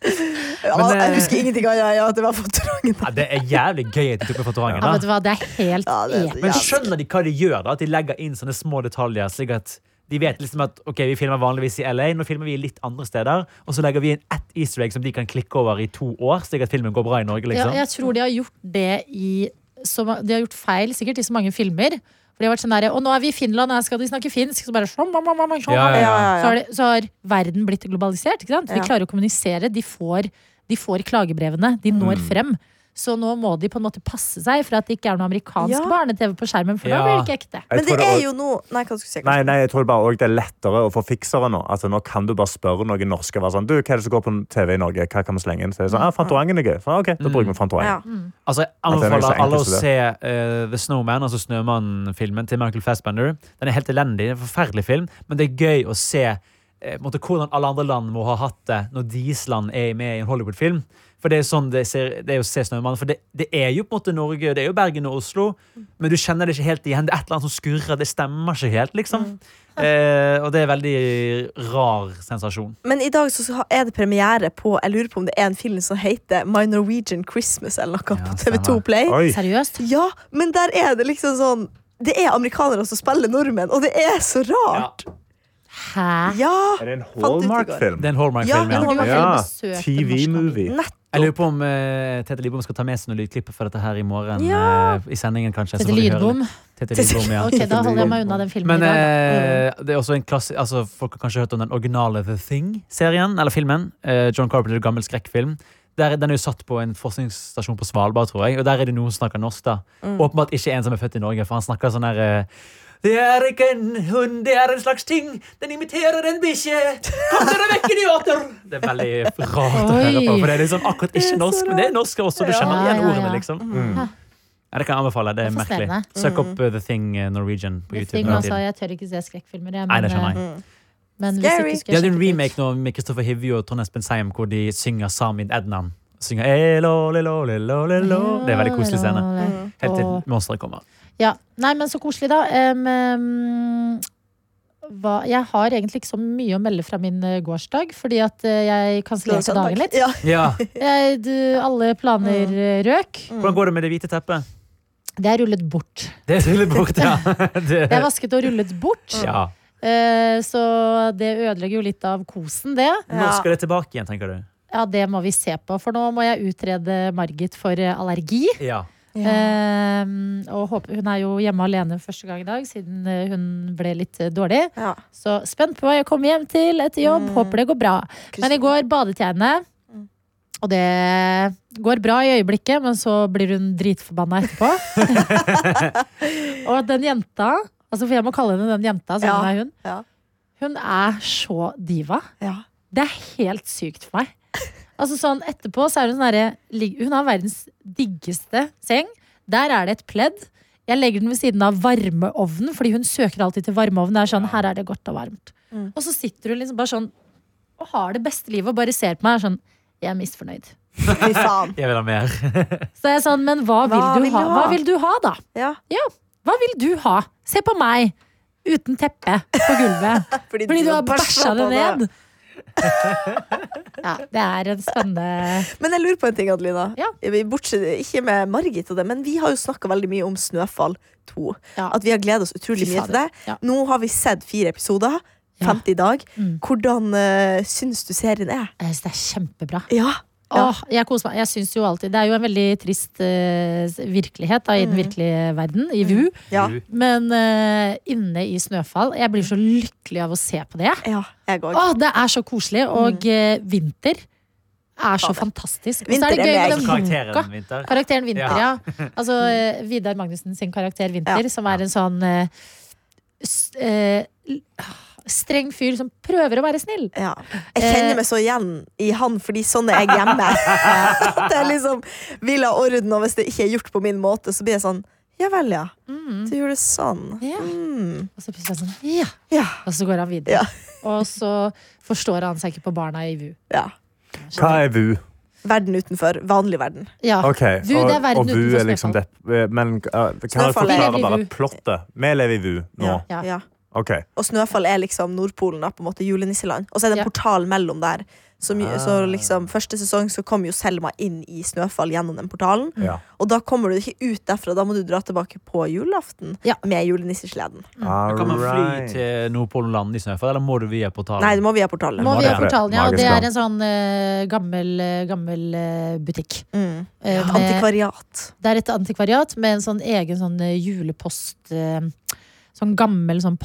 Speaker 3: Ja,
Speaker 5: Men, eh,
Speaker 3: jeg husker ingenting av ja, ja, at det var fotoraken.
Speaker 5: Ja, det er jævlig gøy at de tok med
Speaker 2: Ja,
Speaker 5: fatorangen.
Speaker 2: vet du hva, det er helt
Speaker 3: Ja, det er så
Speaker 2: episk.
Speaker 5: Men
Speaker 3: jævlig.
Speaker 5: skjønner de hva de gjør? da? At de legger inn sånne små detaljer? slik at de vet liksom at ok, vi filmer vanligvis i LA, nå filmer vi litt andre steder. Og så legger vi inn ett easter egg som de kan klikke over i to år. slik at filmen går bra i Norge, liksom.
Speaker 2: Ja, jeg tror de har gjort det i så, ma- De har gjort feil sikkert i så mange filmer. For de har vært sånn der, Og nå er vi i Finland, her skal de snakke finsk. Så bare sånn, bam, bam, bam, sånn.
Speaker 5: Ja, ja, ja.
Speaker 2: Så, har det, så har verden blitt globalisert. ikke sant? De
Speaker 3: Ja.
Speaker 2: klarer å kommunisere. De får, de får klagebrevene. De når
Speaker 5: Mm.
Speaker 2: frem. Så nå må de på en måte passe seg for at det ikke er noe amerikansk
Speaker 3: Ja.
Speaker 2: barne-TV på skjermen. For da blir
Speaker 5: Ja.
Speaker 2: det ikke ekte.
Speaker 4: Jeg
Speaker 3: Men
Speaker 4: tror
Speaker 3: det er
Speaker 4: også-
Speaker 3: jo nå Nei, hva skulle jeg si?
Speaker 4: Nei, nei, jeg tror bare også det er lettere å få fiksere nå. Altså, nå kan du bare spørre noen norske. Være sånn, du, Hva er det som går på TV i Norge? Hva kan vi slenge inn? Så er det sånn, ah, Fantorangen er gøy. Så, ok, da bruker vi
Speaker 3: Mm. Ja.
Speaker 4: Fantorangen.
Speaker 2: Mm.
Speaker 5: Altså, jeg
Speaker 4: det er noe så
Speaker 5: anbefaler alle å
Speaker 4: enkelt som
Speaker 5: se eh, The Snowman, altså Snømannen-filmen til Michael Fassbender. Den er helt elendig, det er en forferdelig film, men det er gøy å se eh, på en måte, hvordan alle andre land må ha hatt det når deres land er med i en Hollywood-film. For det er sånn det, ser, det er å se Snømannen. For det, det er jo på en måte Norge, det er jo Bergen og Oslo, men du kjenner det ikke helt igjen. Det er et eller annet som skurrer, det stemmer ikke helt, liksom. Eh, og det er en veldig rar sensasjon.
Speaker 3: Men i dag så ha- er det premiere på Jeg lurer på om det er en film som heter My Norwegian Christmas eller noe
Speaker 5: Ja,
Speaker 3: på TV2
Speaker 5: stemmer.
Speaker 3: Play.
Speaker 4: Oi.
Speaker 2: Seriøst.
Speaker 3: Ja, men der er det liksom sånn Det er amerikanere som spiller nordmenn, og det er så rart!
Speaker 2: Hæ?
Speaker 3: Ja!
Speaker 4: Er det en
Speaker 5: Det
Speaker 4: Hallmark-film?
Speaker 5: er en Hallmark-film,
Speaker 3: Ja,
Speaker 5: ja.
Speaker 2: Burde jo
Speaker 4: Ja.
Speaker 2: besøke den norske
Speaker 4: TV-movie.
Speaker 3: Nett.
Speaker 5: Jeg lurer på om eh, Tete Lidbom skal ta med seg noen lydklipper fra dette her i morgen.
Speaker 3: Ja.
Speaker 5: eh, I sendingen kanskje så
Speaker 2: Tete
Speaker 5: får vi høre litt.
Speaker 2: Lidbom.
Speaker 5: Tete Lidbom, ja.
Speaker 2: Ok, da holder jeg meg unna den filmen.
Speaker 5: Men
Speaker 2: i dag, da. Mm.
Speaker 5: eh, det er også en klasse, altså, folk har kanskje hørt om den originale The Thing-serien, eller filmen. Eh, John Carpenter, gammel skrekkfilm. Der, den er jo satt på en forskningsstasjon på Svalbard, tror jeg. Og der er det noen som snakker norsk, da.
Speaker 2: Mm.
Speaker 5: Åpenbart ikke en som er født i Norge, for han snakker sånn der eh, det er ikke en hund, det er en slags ting. Den imiterer en bikkje. Kom dere vekk, idioter! Det er veldig rart å høre på,
Speaker 2: Oi.
Speaker 5: for det er liksom akkurat ikke norsk, men det er norsk også. Du kjenner
Speaker 2: Ja, ja,
Speaker 5: igjen
Speaker 2: Mm. ja.
Speaker 5: ordene, liksom. Ja, det kan jeg anbefale.
Speaker 2: Det
Speaker 5: Det er
Speaker 2: er
Speaker 5: merkelig.
Speaker 2: fascinerende.
Speaker 5: Søk opp uh, The Thing uh, Norwegian på
Speaker 2: Det
Speaker 5: YouTube.
Speaker 2: Thing,
Speaker 5: Ja.
Speaker 2: altså, jeg tør ikke se skrekkfilmer. Jeg,
Speaker 5: Nei,
Speaker 2: men, eh,
Speaker 5: det skjønner
Speaker 3: Mm,
Speaker 5: jeg.
Speaker 2: Men hvis
Speaker 3: Scary.
Speaker 2: ikke skal jeg
Speaker 5: De hadde en
Speaker 2: sjekke det ut.
Speaker 5: remake nå med Kristoffer Hivju og Trond Espen Seim hvor de synger Samin Ednan. Synger «Elolelolelolelo». Det er en veldig koselig scene. Helt til monsteret kommer.
Speaker 2: Ja. Nei, men så koselig, da. Em, em, hva, jeg har egentlig ikke så mye å melde fra min eh, gårsdag, fordi at eh, jeg kansellerte dagen litt.
Speaker 3: Ja. Mm.
Speaker 5: Ja.
Speaker 2: Jeg, du, alle planer eh, røk.
Speaker 5: Hvordan går det med det hvite teppet?
Speaker 2: Det er rullet bort.
Speaker 5: Det er tydelig bort, ja. Det,
Speaker 2: Det er vasket og rullet bort,
Speaker 5: ja.
Speaker 3: Mm.
Speaker 2: eh, så det ødelegger jo litt av kosen, det.
Speaker 5: Når skal det tilbake igjen, tenker du?
Speaker 2: Ja, det må vi se på, for nå må jeg utrede Margit for eh, allergi.
Speaker 5: Ja.
Speaker 2: Eh, Ehm, og håper, hun er jo hjemme alene første gang i dag, siden eh, hun ble litt eh, dårlig.
Speaker 3: Ja.
Speaker 2: Så spent på hva jeg kommer hjem til etter jobb.
Speaker 3: Mm.
Speaker 2: Håper det går bra. Men i går badet jeg henne. Og det går bra i øyeblikket, men så blir hun dritforbanna etterpå. og den jenta, altså for jeg må kalle henne den jenta, sånn
Speaker 3: Ja.
Speaker 2: er hun.
Speaker 3: Ja.
Speaker 2: Hun er så diva.
Speaker 3: Ja.
Speaker 2: Det er helt sykt for meg. Altså sånn Etterpå så er hun sånn herre- lig- Hun har verdens diggeste seng. Der er det et pledd. Jeg legger den ved siden av varmeovnen, fordi hun søker alltid til varmeovnen. Det er sånn, her er det godt og varmt.
Speaker 3: Mm.
Speaker 2: Og så sitter hun liksom bare sånn og har det beste livet og bare ser på meg og er sånn Jeg er misfornøyd.
Speaker 3: Fy faen.
Speaker 5: Jeg vil ha mer.
Speaker 2: Så jeg er sånn, men hva vil,
Speaker 3: Hva
Speaker 2: du,
Speaker 3: vil du
Speaker 2: ha? Hva
Speaker 3: ha?
Speaker 2: vil du ha, da?
Speaker 3: Ja.
Speaker 2: Ja, hva vil du ha? Se på meg! Uten teppe på gulvet. Fordi du har bæsja det
Speaker 3: på
Speaker 2: ned. Ja, det er en spennende
Speaker 3: Men jeg lurer på en ting, Adelina.
Speaker 2: Ja.
Speaker 3: Vi- Bortsett, ikke med Margit og det, men vi har jo snakka veldig mye om Snøfall 2.
Speaker 2: Ja.
Speaker 3: At vi har gleda oss utrolig
Speaker 2: Fy
Speaker 3: mye til det.
Speaker 2: fader. Ja.
Speaker 3: Nå har vi sett fire episoder. 50 i dag. Hvordan uh, syns du serien er?
Speaker 2: Jeg synes Eh, det er kjempebra.
Speaker 3: Ja.
Speaker 2: Åh, jeg koser meg. Jeg synes jo alltid Det er jo en veldig trist eh, virkelighet da, i den virkelige verden, i VU.
Speaker 3: Ja.
Speaker 5: Du.
Speaker 2: Men eh, inne i Snøfall Jeg blir så lykkelig av å se på det.
Speaker 3: ja jeg òg.
Speaker 2: Åh, det er så koselig. Og eh, vinter er så fantastisk. Og så er
Speaker 3: Vinter
Speaker 2: det
Speaker 3: er
Speaker 2: gøy med den
Speaker 3: meg.
Speaker 2: boka.
Speaker 5: Karakteren Vinter.
Speaker 2: Karakteren Vinter,
Speaker 5: Ja.
Speaker 2: ja. Altså eh, Vidar Magnussen sin karakter Vinter,
Speaker 3: Ja.
Speaker 2: som er en sånn eh, s- eh, l- streng fyr som prøver å være snill.
Speaker 3: Ja. Jeg kjenner meg så igjen i han, fordi sånn er jeg hjemme. At jeg liksom vil ha orden, og hvis det ikke er gjort på min måte, så blir jeg sånn Ja vel, ja. Du gjorde det sånn.
Speaker 2: Ja.
Speaker 3: Mm.
Speaker 2: Og så plutselig er det sånn Ja!
Speaker 3: Ja.
Speaker 2: Og så går han videre. og så forstår han seg ikke på barna i VU.
Speaker 3: ja.
Speaker 4: Hva er VU?
Speaker 3: Verden utenfor. Vanlig verden.
Speaker 2: Ja.
Speaker 4: Ok,
Speaker 2: VU, det er
Speaker 4: og, og
Speaker 2: verden
Speaker 4: VU er
Speaker 2: utenfor
Speaker 4: liksom
Speaker 2: Snøfall.
Speaker 4: det Men eh, kan jeg
Speaker 3: Snøfall er-
Speaker 2: Vi lever
Speaker 4: forklare
Speaker 2: i
Speaker 4: bare
Speaker 2: VU.
Speaker 4: plottet? Vi lever i VU nå.
Speaker 3: Ja.
Speaker 2: Ja.
Speaker 3: Ja.
Speaker 4: Ok.
Speaker 3: Og Snøfall er liksom Nordpolen, da, på en måte julenisseland. Og så er det en
Speaker 2: Ja.
Speaker 3: portal mellom der. Som, jo- så
Speaker 5: Ah.
Speaker 3: liksom, første sesong så kom jo Selma inn i Snøfall gjennom den portalen.
Speaker 4: Ja.
Speaker 3: Og da kommer du ikke ut derfra. Da må du dra tilbake på julaften
Speaker 2: Ja.
Speaker 3: med julenissesleden.
Speaker 2: Mm.
Speaker 5: Kan man fly
Speaker 4: Alright.
Speaker 5: til Nordpolen land i Snøfall, eller må du via portalen?
Speaker 3: Nei, du må via portalen.
Speaker 2: Må
Speaker 4: Hva
Speaker 2: vi
Speaker 4: er
Speaker 2: ha
Speaker 4: det?
Speaker 2: portalen, ja. Og det
Speaker 4: Magisk
Speaker 2: er
Speaker 4: land.
Speaker 2: en sånn eh, gammel, eh, gammel eh, butikk.
Speaker 3: Mm.
Speaker 2: Eh,
Speaker 3: Et
Speaker 2: med-
Speaker 3: antikvariat.
Speaker 2: Det er et antikvariat med en sånn egen sånn eh, julepost eh, Sånn gammel sånn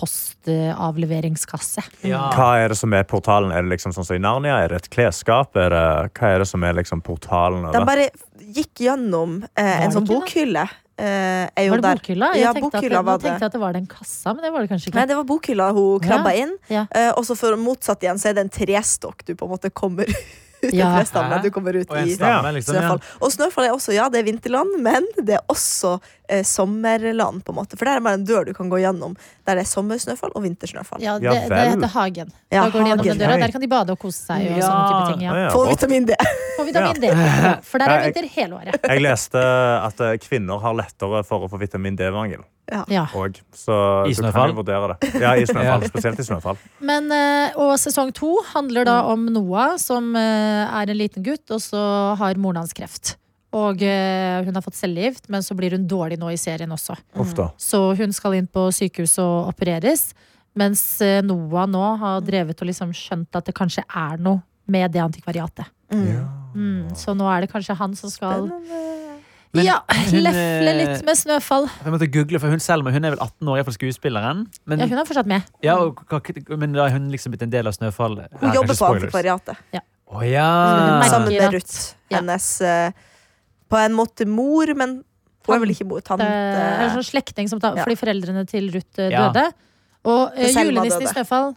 Speaker 2: postavleveringskasse.
Speaker 5: Ja.
Speaker 4: Hva er det som er portalen? Er det liksom sånn som i Narnia? Er det et klesskap? Er det, hva er det som er liksom portalen?
Speaker 3: De
Speaker 4: Over?
Speaker 3: bare gikk gjennom eh, en
Speaker 2: Var det
Speaker 3: sånn
Speaker 2: ikke
Speaker 3: bokhylle. Eh, er jo
Speaker 2: Var det
Speaker 3: der.
Speaker 2: bokhylla? Jeg
Speaker 3: Ja,
Speaker 2: tenkte at,
Speaker 3: bokhylla
Speaker 2: nå
Speaker 3: var det.
Speaker 2: tenkte jeg at det var den kassa, men det var det kanskje ikke.
Speaker 3: Nei, det var bokhylla hun krabba inn.
Speaker 2: ja.
Speaker 3: Eh, og så for motsatt igjen så er det en trestokk du på en måte kommer ut
Speaker 2: Ja.
Speaker 3: ja. du kommer ut
Speaker 5: Og en
Speaker 3: i.
Speaker 5: stamme, liksom. Ja.
Speaker 3: Snøfall. Og Snøfall er også ja, det er vinterland, men det er også eh, sommerland. på en måte For der er bare en dør du kan gå gjennom der det er sommersnøfall og vintersnøfall.
Speaker 2: Ja, det,
Speaker 4: Ja
Speaker 2: det
Speaker 4: vel.
Speaker 2: heter Hagen.
Speaker 3: Ja,
Speaker 2: da går de gjennom den
Speaker 3: Hagen.
Speaker 2: døra. Der kan de bade og kose seg. Og
Speaker 5: Ja.
Speaker 2: sånne type ting, ja.
Speaker 4: Ja, ja.
Speaker 3: Få
Speaker 4: Og
Speaker 3: vitamin D!
Speaker 2: På vitamin D. Ja, For der er
Speaker 4: Nei, jeg-
Speaker 2: vinter hele året.
Speaker 4: Jeg leste at eh, kvinner har lettere for å få vitamin D-mangel.
Speaker 2: Ja.
Speaker 4: Og, så
Speaker 5: I
Speaker 4: du kan
Speaker 5: snøfall.
Speaker 4: jo vurdere det. Ja, i snøfall.
Speaker 5: Ja.
Speaker 4: Spesielt i snøfall.
Speaker 2: Men, eh, og sesong to handler da om Noah, som eh, er en liten gutt, og så har moren hans kreft. Og eh, hun har fått cellegift, men så blir hun dårlig nå i serien også.
Speaker 4: Uff da.
Speaker 2: Så hun skal inn på sykehus og opereres. Mens eh, Noah nå har drevet og liksom skjønt at det kanskje er noe med det antikvariatet. Mm, så nå er det kanskje han som skal
Speaker 3: eh,
Speaker 5: Men
Speaker 2: ja,
Speaker 5: hun,
Speaker 2: lefle
Speaker 5: eh,
Speaker 2: litt med snøfall.
Speaker 5: Jeg måtte google, for hun Selma hun er vel 18 år, iallfall skuespilleren. Men,
Speaker 2: Ja, hun er fortsatt med.
Speaker 5: ja, og, hva- men da er hun liksom blitt en del av Snøfall.
Speaker 3: Hun jobber på antikvariatet
Speaker 5: Å ja.
Speaker 2: Merker
Speaker 3: sammen
Speaker 2: at-
Speaker 3: med Ruth.
Speaker 2: ja.
Speaker 3: Hennes eh, på en måte mor, men hun er vel ikke mor. Tante.
Speaker 2: Eh, en sånn slektning som tar,
Speaker 3: Ja.
Speaker 2: fordi foreldrene til Ruth eh,
Speaker 5: Ja.
Speaker 2: døde. Og eh,
Speaker 3: Så Selma
Speaker 2: julenissen i
Speaker 3: døde.
Speaker 2: Snøfall.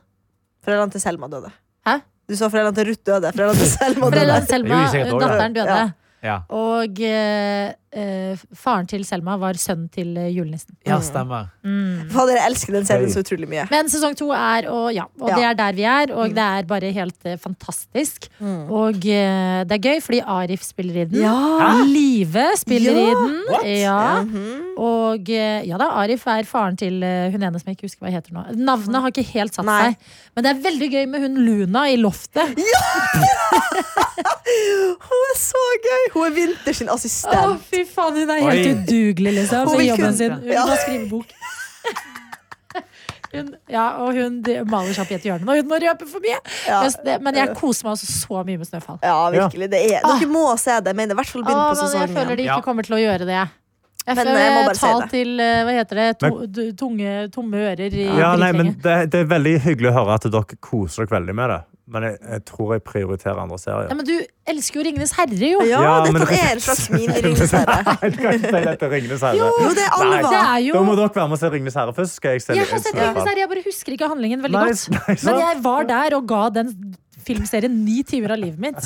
Speaker 3: Foreldrene til Selma døde.
Speaker 2: Hæ?
Speaker 3: Du sa foreldrene til Ruth døde. Foreldrene til Selma døde.
Speaker 2: Foreldrene til Selma,
Speaker 5: Det gjorde de sikkert også, ja.
Speaker 2: datteren døde.
Speaker 3: Ja.
Speaker 5: Ja,
Speaker 2: Og eh, eh, faren til Selma var sønnen til eh, julenissen.
Speaker 5: ja stemmer.
Speaker 2: Mm.
Speaker 3: Fader, jeg elsker den serien
Speaker 4: Gøy.
Speaker 3: så utrolig mye.
Speaker 2: Men sesong to er, og ja, og
Speaker 3: Ja. Mm.
Speaker 2: det er der vi er, og det er bare helt eh, fantastisk. Og eh, det er gøy, fordi Arif spiller i den.
Speaker 3: Ja!
Speaker 2: Hæ? Live spiller
Speaker 3: Ja.
Speaker 2: i den.
Speaker 5: What?
Speaker 2: Ja.
Speaker 3: Mhm.
Speaker 2: Og eh, ja da, Arif er faren til eh, hun ene som jeg ikke husker hva heter nå. Navnet har ikke helt satt
Speaker 3: Nei.
Speaker 2: seg. Men det er veldig gøy med hun Luna i loftet.
Speaker 3: Hun er så gøy! Hun er Winter sin
Speaker 2: Å,
Speaker 3: assistent.
Speaker 2: fy faen, hun er
Speaker 5: Oi.
Speaker 2: helt udugelig, liksom,
Speaker 3: Hun
Speaker 2: med
Speaker 3: vil
Speaker 2: jobben
Speaker 3: kun-
Speaker 2: sin. Hun
Speaker 3: ja.
Speaker 2: må skrive bok. Hun, ja, og hun de- maler seg opp i et hjørne, og hun må røpe for mye.
Speaker 3: Ja.
Speaker 2: Men det- Men jeg koser meg også så mye med Snøfall.
Speaker 3: Ja, virkelig. Det er.
Speaker 2: Ah.
Speaker 3: Dere må se det. Jeg mener, i hvert fall begynn
Speaker 2: Å, men
Speaker 3: på
Speaker 2: jeg føler
Speaker 3: sesongen.
Speaker 2: de
Speaker 5: Ja.
Speaker 2: ikke kommer til å gjøre det. Jeg
Speaker 3: Men,
Speaker 2: føler
Speaker 3: eh, jeg må bare
Speaker 2: tal
Speaker 3: si det.
Speaker 2: til eh, Hva heter det? To, d- tunge, tomme ører i
Speaker 4: Ja, nei, men
Speaker 2: dritlenge.
Speaker 4: det, det er veldig hyggelig å høre at dere koser dere veldig med det. Men jeg, jeg tror jeg prioriterer andre serier.
Speaker 2: Ja, men du elsker jo Ringenes herre, jo!
Speaker 3: Ja,
Speaker 4: Ja, men
Speaker 3: dette
Speaker 4: dere-
Speaker 3: er en slags miniringserie.
Speaker 4: Nei, du kan ikke si dette Ringenes herre.
Speaker 3: Jo, det er
Speaker 4: Nei,
Speaker 2: Det
Speaker 3: alvor.
Speaker 2: er
Speaker 4: Da
Speaker 2: jo
Speaker 4: må dere være med og se Ringenes herre først. Skal jeg se
Speaker 2: Jeg
Speaker 4: litt
Speaker 2: har sett
Speaker 4: Snøfall.
Speaker 2: Ringenes herre, jeg bare husker ikke handlingen veldig
Speaker 4: Nei,
Speaker 2: godt.
Speaker 4: nei, sant?
Speaker 2: Men jeg var der og ga den filmserien ni timer av livet mitt.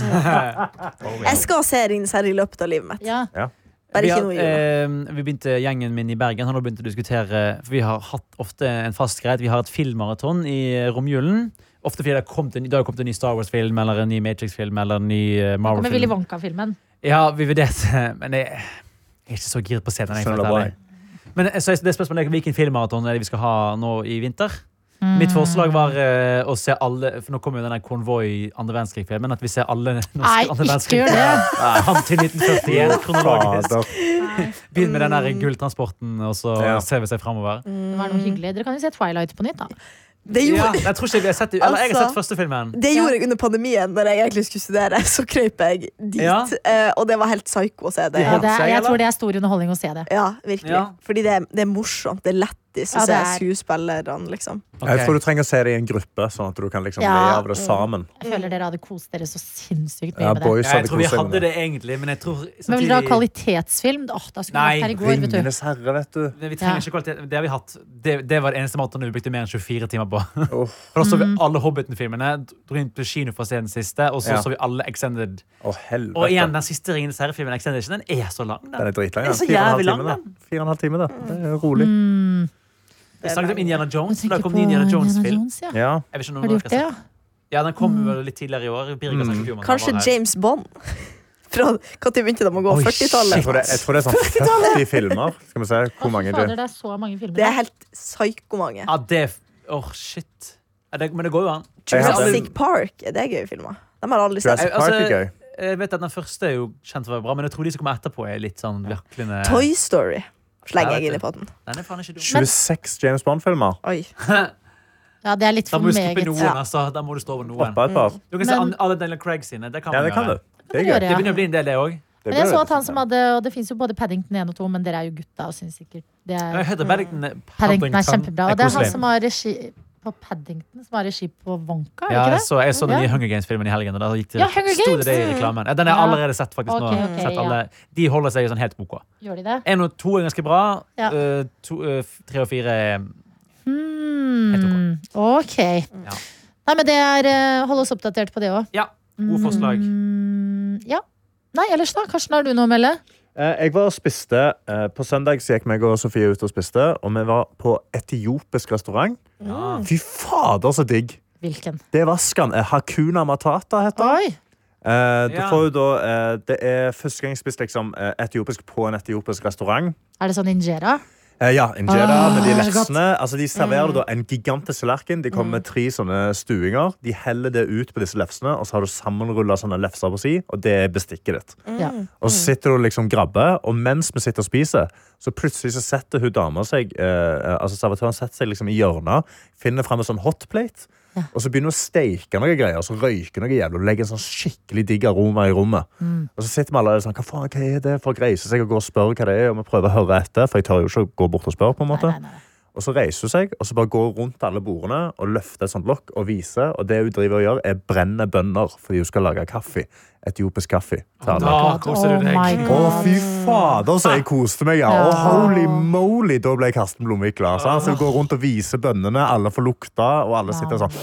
Speaker 3: Jeg skal se Ringenes herre i løpet av livet mitt.
Speaker 2: Ja.
Speaker 3: Bare
Speaker 5: Vi,
Speaker 3: ikke
Speaker 5: har,
Speaker 3: noe i jula.
Speaker 5: eh, vi begynte gjengen min i Bergen har nå begynt å diskutere For vi har hatt ofte en fast greie at Vi har et filmmaraton i romjulen Ofte fordi det har kommet en, det har kommet en ny Star Wars-film Eller en ny Matrix-film Eller en ny eh,
Speaker 2: Med Willy
Speaker 5: Marvel-film
Speaker 2: Wonka-filmen.
Speaker 5: Ja, vi vurderte Men jeg, jeg er ikke så giret på scenen jeg,
Speaker 4: Skjønner
Speaker 5: for å være
Speaker 4: bare.
Speaker 5: ærlig. Men eh, så er det spørsmålet er hvilken filmmaraton er det vi skal ha nå i vinter Mitt forslag var eh, å se alle For nå kommer jo denne konvoi andre verdenskrig-filmen At vi ser alle norske
Speaker 2: Nei,
Speaker 5: andre
Speaker 2: ikke gjør
Speaker 5: verdenskrig
Speaker 2: det!
Speaker 5: Nei, Han til 1941 kronologisk
Speaker 4: Fader.
Speaker 5: Begynn med den der
Speaker 2: Mm.
Speaker 5: gulltransporten, og så
Speaker 4: Ja.
Speaker 5: ser vi seg framover.
Speaker 2: Det var noe hyggelig. Dere kan jo se Twilight på nytt, da.
Speaker 3: Det
Speaker 5: Ja,
Speaker 3: gjorde,
Speaker 5: jeg tror ikke vi har sett det. Eller, jeg har
Speaker 3: Altså-
Speaker 5: sett første filmen.
Speaker 3: det gjorde jeg under pandemien, Når jeg egentlig skulle studere. Så krøyp jeg dit,
Speaker 5: Ja.
Speaker 3: eh, og det var helt psyko å se det.
Speaker 2: Ja, det er,
Speaker 5: seg,
Speaker 2: jeg
Speaker 5: eller?
Speaker 2: tror det er stor underholdning å se det.
Speaker 3: Ja, virkelig.
Speaker 5: Ja.
Speaker 3: Fordi det er, det er morsomt. Det er lættis å
Speaker 2: Ja, det
Speaker 3: se
Speaker 2: er.
Speaker 3: skuespillerne, liksom.
Speaker 4: Jeg tror du trenger å se det i en gruppe, sånn at du kan liksom
Speaker 2: Ja.
Speaker 4: le av det sammen.
Speaker 2: Jeg føler dere hadde kost dere så sinnssykt mye
Speaker 4: Ja,
Speaker 2: med det.
Speaker 4: boys
Speaker 5: ja, jeg
Speaker 4: hadde
Speaker 5: tror vi
Speaker 4: kost seg
Speaker 5: hadde
Speaker 4: med det.
Speaker 5: det egentlig, men jeg tror
Speaker 2: Men vil dere ha
Speaker 5: samtidig-
Speaker 2: kvalitetsfilm? Åh, da skulle
Speaker 5: Nei,
Speaker 2: vi vært her i går, vet du.
Speaker 4: Ringenes herre, vet du.
Speaker 5: Men vi trenger
Speaker 2: Ja.
Speaker 5: ikke kvalitet. Det har vi hatt. Det, det var det eneste maten vi brukte mer enn 24 timer på.
Speaker 4: Uff.
Speaker 5: For da så
Speaker 4: Mhm.
Speaker 5: vi alle Hobbiten-filmene, dro inn på kino for å se den siste, og så
Speaker 4: Ja.
Speaker 5: så vi alle Extended.
Speaker 4: Å, helvete.
Speaker 5: Og igjen, den siste Ringenes herre-filmen, Extended Edition, den er så lang.
Speaker 4: Den
Speaker 5: Den.
Speaker 4: er dritlang.
Speaker 5: Den er
Speaker 4: ja.
Speaker 5: så
Speaker 4: Fire og en halv
Speaker 5: jævlig lang,
Speaker 4: time, da. Fire og en halv time, da. Det er rolig.
Speaker 2: Mm.
Speaker 5: Vi snakket om Indiana Jones,
Speaker 2: Jeg
Speaker 5: da
Speaker 2: tenker
Speaker 5: kom
Speaker 2: på
Speaker 5: det Indiana Jones-film.
Speaker 2: Jones, ja.
Speaker 4: Ja.
Speaker 5: Jeg vet ikke om
Speaker 2: Har du
Speaker 5: noen
Speaker 2: gjort det, Mm. ja?
Speaker 5: Ja, den kom vel litt tidligere i år. Birger
Speaker 4: Mm.
Speaker 5: har sagt i fjor, men den
Speaker 3: Kanskje
Speaker 5: var her.
Speaker 3: James Bond. Fra når begynte de å gå?
Speaker 5: Oi,
Speaker 4: Jeg
Speaker 3: 40-tallet?
Speaker 4: tror, det, jeg tror det er sånn 40 filmer. Skal vi se hvor mange
Speaker 2: Å, fy
Speaker 4: det
Speaker 2: fader, det er så mange filmer.
Speaker 3: Det er helt psykomange.
Speaker 5: Ja, det f- Åh, shit. Ja, det, men det går jo an.
Speaker 3: Jurassic Park, er det gøye filmer? De har jeg aldri sett.
Speaker 4: Jurassic Park er
Speaker 5: Altså-
Speaker 4: gøy.
Speaker 5: Jeg vet at Den første er jo kjent for å være bra, men jeg tror de som kommer etterpå, er litt sånn virklende
Speaker 3: Toy Story slenger jeg
Speaker 5: Ja, vet
Speaker 3: inn i
Speaker 5: du.
Speaker 3: potten.
Speaker 5: Den er faen ikke dum.
Speaker 4: 26 James Bond-filmer.
Speaker 3: Oi.
Speaker 2: Ja, det er litt
Speaker 5: Da
Speaker 2: for
Speaker 5: må du skippe
Speaker 2: meget.
Speaker 5: noen,
Speaker 3: Ja.
Speaker 5: altså. Da må du stå over noen.
Speaker 4: Hoppa et par.
Speaker 5: Du kan se
Speaker 2: Men-
Speaker 5: an- alle Daniel Craig sine. Det kan
Speaker 4: Ja,
Speaker 5: man
Speaker 4: det kan du.
Speaker 5: gjøre.
Speaker 4: Det er
Speaker 2: Det
Speaker 4: gøy.
Speaker 2: gjør
Speaker 5: Det begynner å bli en del, det òg.
Speaker 4: Det
Speaker 2: Men jeg
Speaker 4: blir
Speaker 2: så
Speaker 4: det.
Speaker 2: at han som hadde, og det fins jo både Paddington 1 og 2, men dere er jo gutta og syns sikkert det er
Speaker 5: Heather Paddington er-
Speaker 2: Paddington er kjempebra. Og Mm. det er han
Speaker 5: koselig.
Speaker 2: som har regi på Paddington, som har regi på Wonka, er
Speaker 5: ja,
Speaker 2: det
Speaker 5: jeg
Speaker 2: ikke det?
Speaker 5: så, jeg så den
Speaker 2: Ja.
Speaker 5: nye Hunger Games-filmen i helgen. Og da gikk det,
Speaker 2: Ja, Hunger
Speaker 5: sto
Speaker 2: Games!
Speaker 5: det det i reklamen. Ja, den har
Speaker 2: Ja.
Speaker 5: jeg allerede sett. faktisk nå.
Speaker 2: Ok, ok,
Speaker 5: sett
Speaker 2: ja.
Speaker 5: alle. De holder seg jo sånn helt OK.
Speaker 2: Gjør de det?
Speaker 5: En og to er ganske bra.
Speaker 2: Ja.
Speaker 5: Eh, to, eh, f- tre og fire er
Speaker 2: Hmm, ok.
Speaker 5: Ja.
Speaker 2: Nei, men det er eh, Hold oss oppdatert på det òg.
Speaker 5: Ja, gode forslag.
Speaker 2: Mm, ja. Nei, ellers da? Karsten, har du noe å melde?
Speaker 4: Eh, Jeg var og spiste eh, På søndag så gikk meg og Sofie ut og spiste, og vi var på etiopisk restaurant.
Speaker 5: Ja.
Speaker 4: Fy fader, så digg!
Speaker 2: Hvilken?
Speaker 4: Det var skan eh, Hakuna Matata, heter det.
Speaker 2: Oi!
Speaker 4: Eh, du
Speaker 5: Ja.
Speaker 4: får jo da, eh, det er første gang jeg spiste liksom, eh, etiopisk på en etiopisk restaurant.
Speaker 2: Er det sånn injera?
Speaker 4: Eh, ja, injera
Speaker 2: Ah,
Speaker 4: med de
Speaker 2: så
Speaker 4: lefsene. Altså, de serverer da en gigantisk tallerken. De kommer med tre sånne stuinger. De heller det ut på disse lefsene, og så har du sammenrulla sånne lefser på si, og det er bestikket ditt.
Speaker 2: Ja.
Speaker 4: Og
Speaker 2: Mm.
Speaker 4: så sitter du og liksom grabber, og mens vi sitter og spiser, så plutselig så setter hun dama seg eh, Altså servitøren setter seg liksom i hjørnet, finner fram en sånn hotplate, og så begynner hun å steike noe greier, og så røyker noe jævlig, og legger en sånn skikkelig digg aroma i rommet.
Speaker 2: Mm.
Speaker 4: Og så sitter vi alle sånn, hva faen, hva er det? Folk reiser seg og går og spør hva det er, og vi prøver å høre etter, for jeg tør jo ikke å gå bort og spørre, på en
Speaker 2: Nei,
Speaker 4: måte.
Speaker 2: nei, nei.
Speaker 4: Og så reiser hun seg og så bare går rundt alle bordene og løfter et sånt lokk og viser. Og det hun driver og gjør, er brenner bønner fordi hun skal lage kaffe. Etiopisk kaffe. til alle.
Speaker 5: Da koser
Speaker 2: Oh
Speaker 5: du
Speaker 2: my
Speaker 5: deg.
Speaker 4: Å, fy fader, så jeg koste meg. Ja. Å,
Speaker 2: Ja.
Speaker 4: holy moly, da ble Karsten Blomvik glad. sant? Så han går rundt og viser bønnene, alle får lukta, og alle sitter sånn.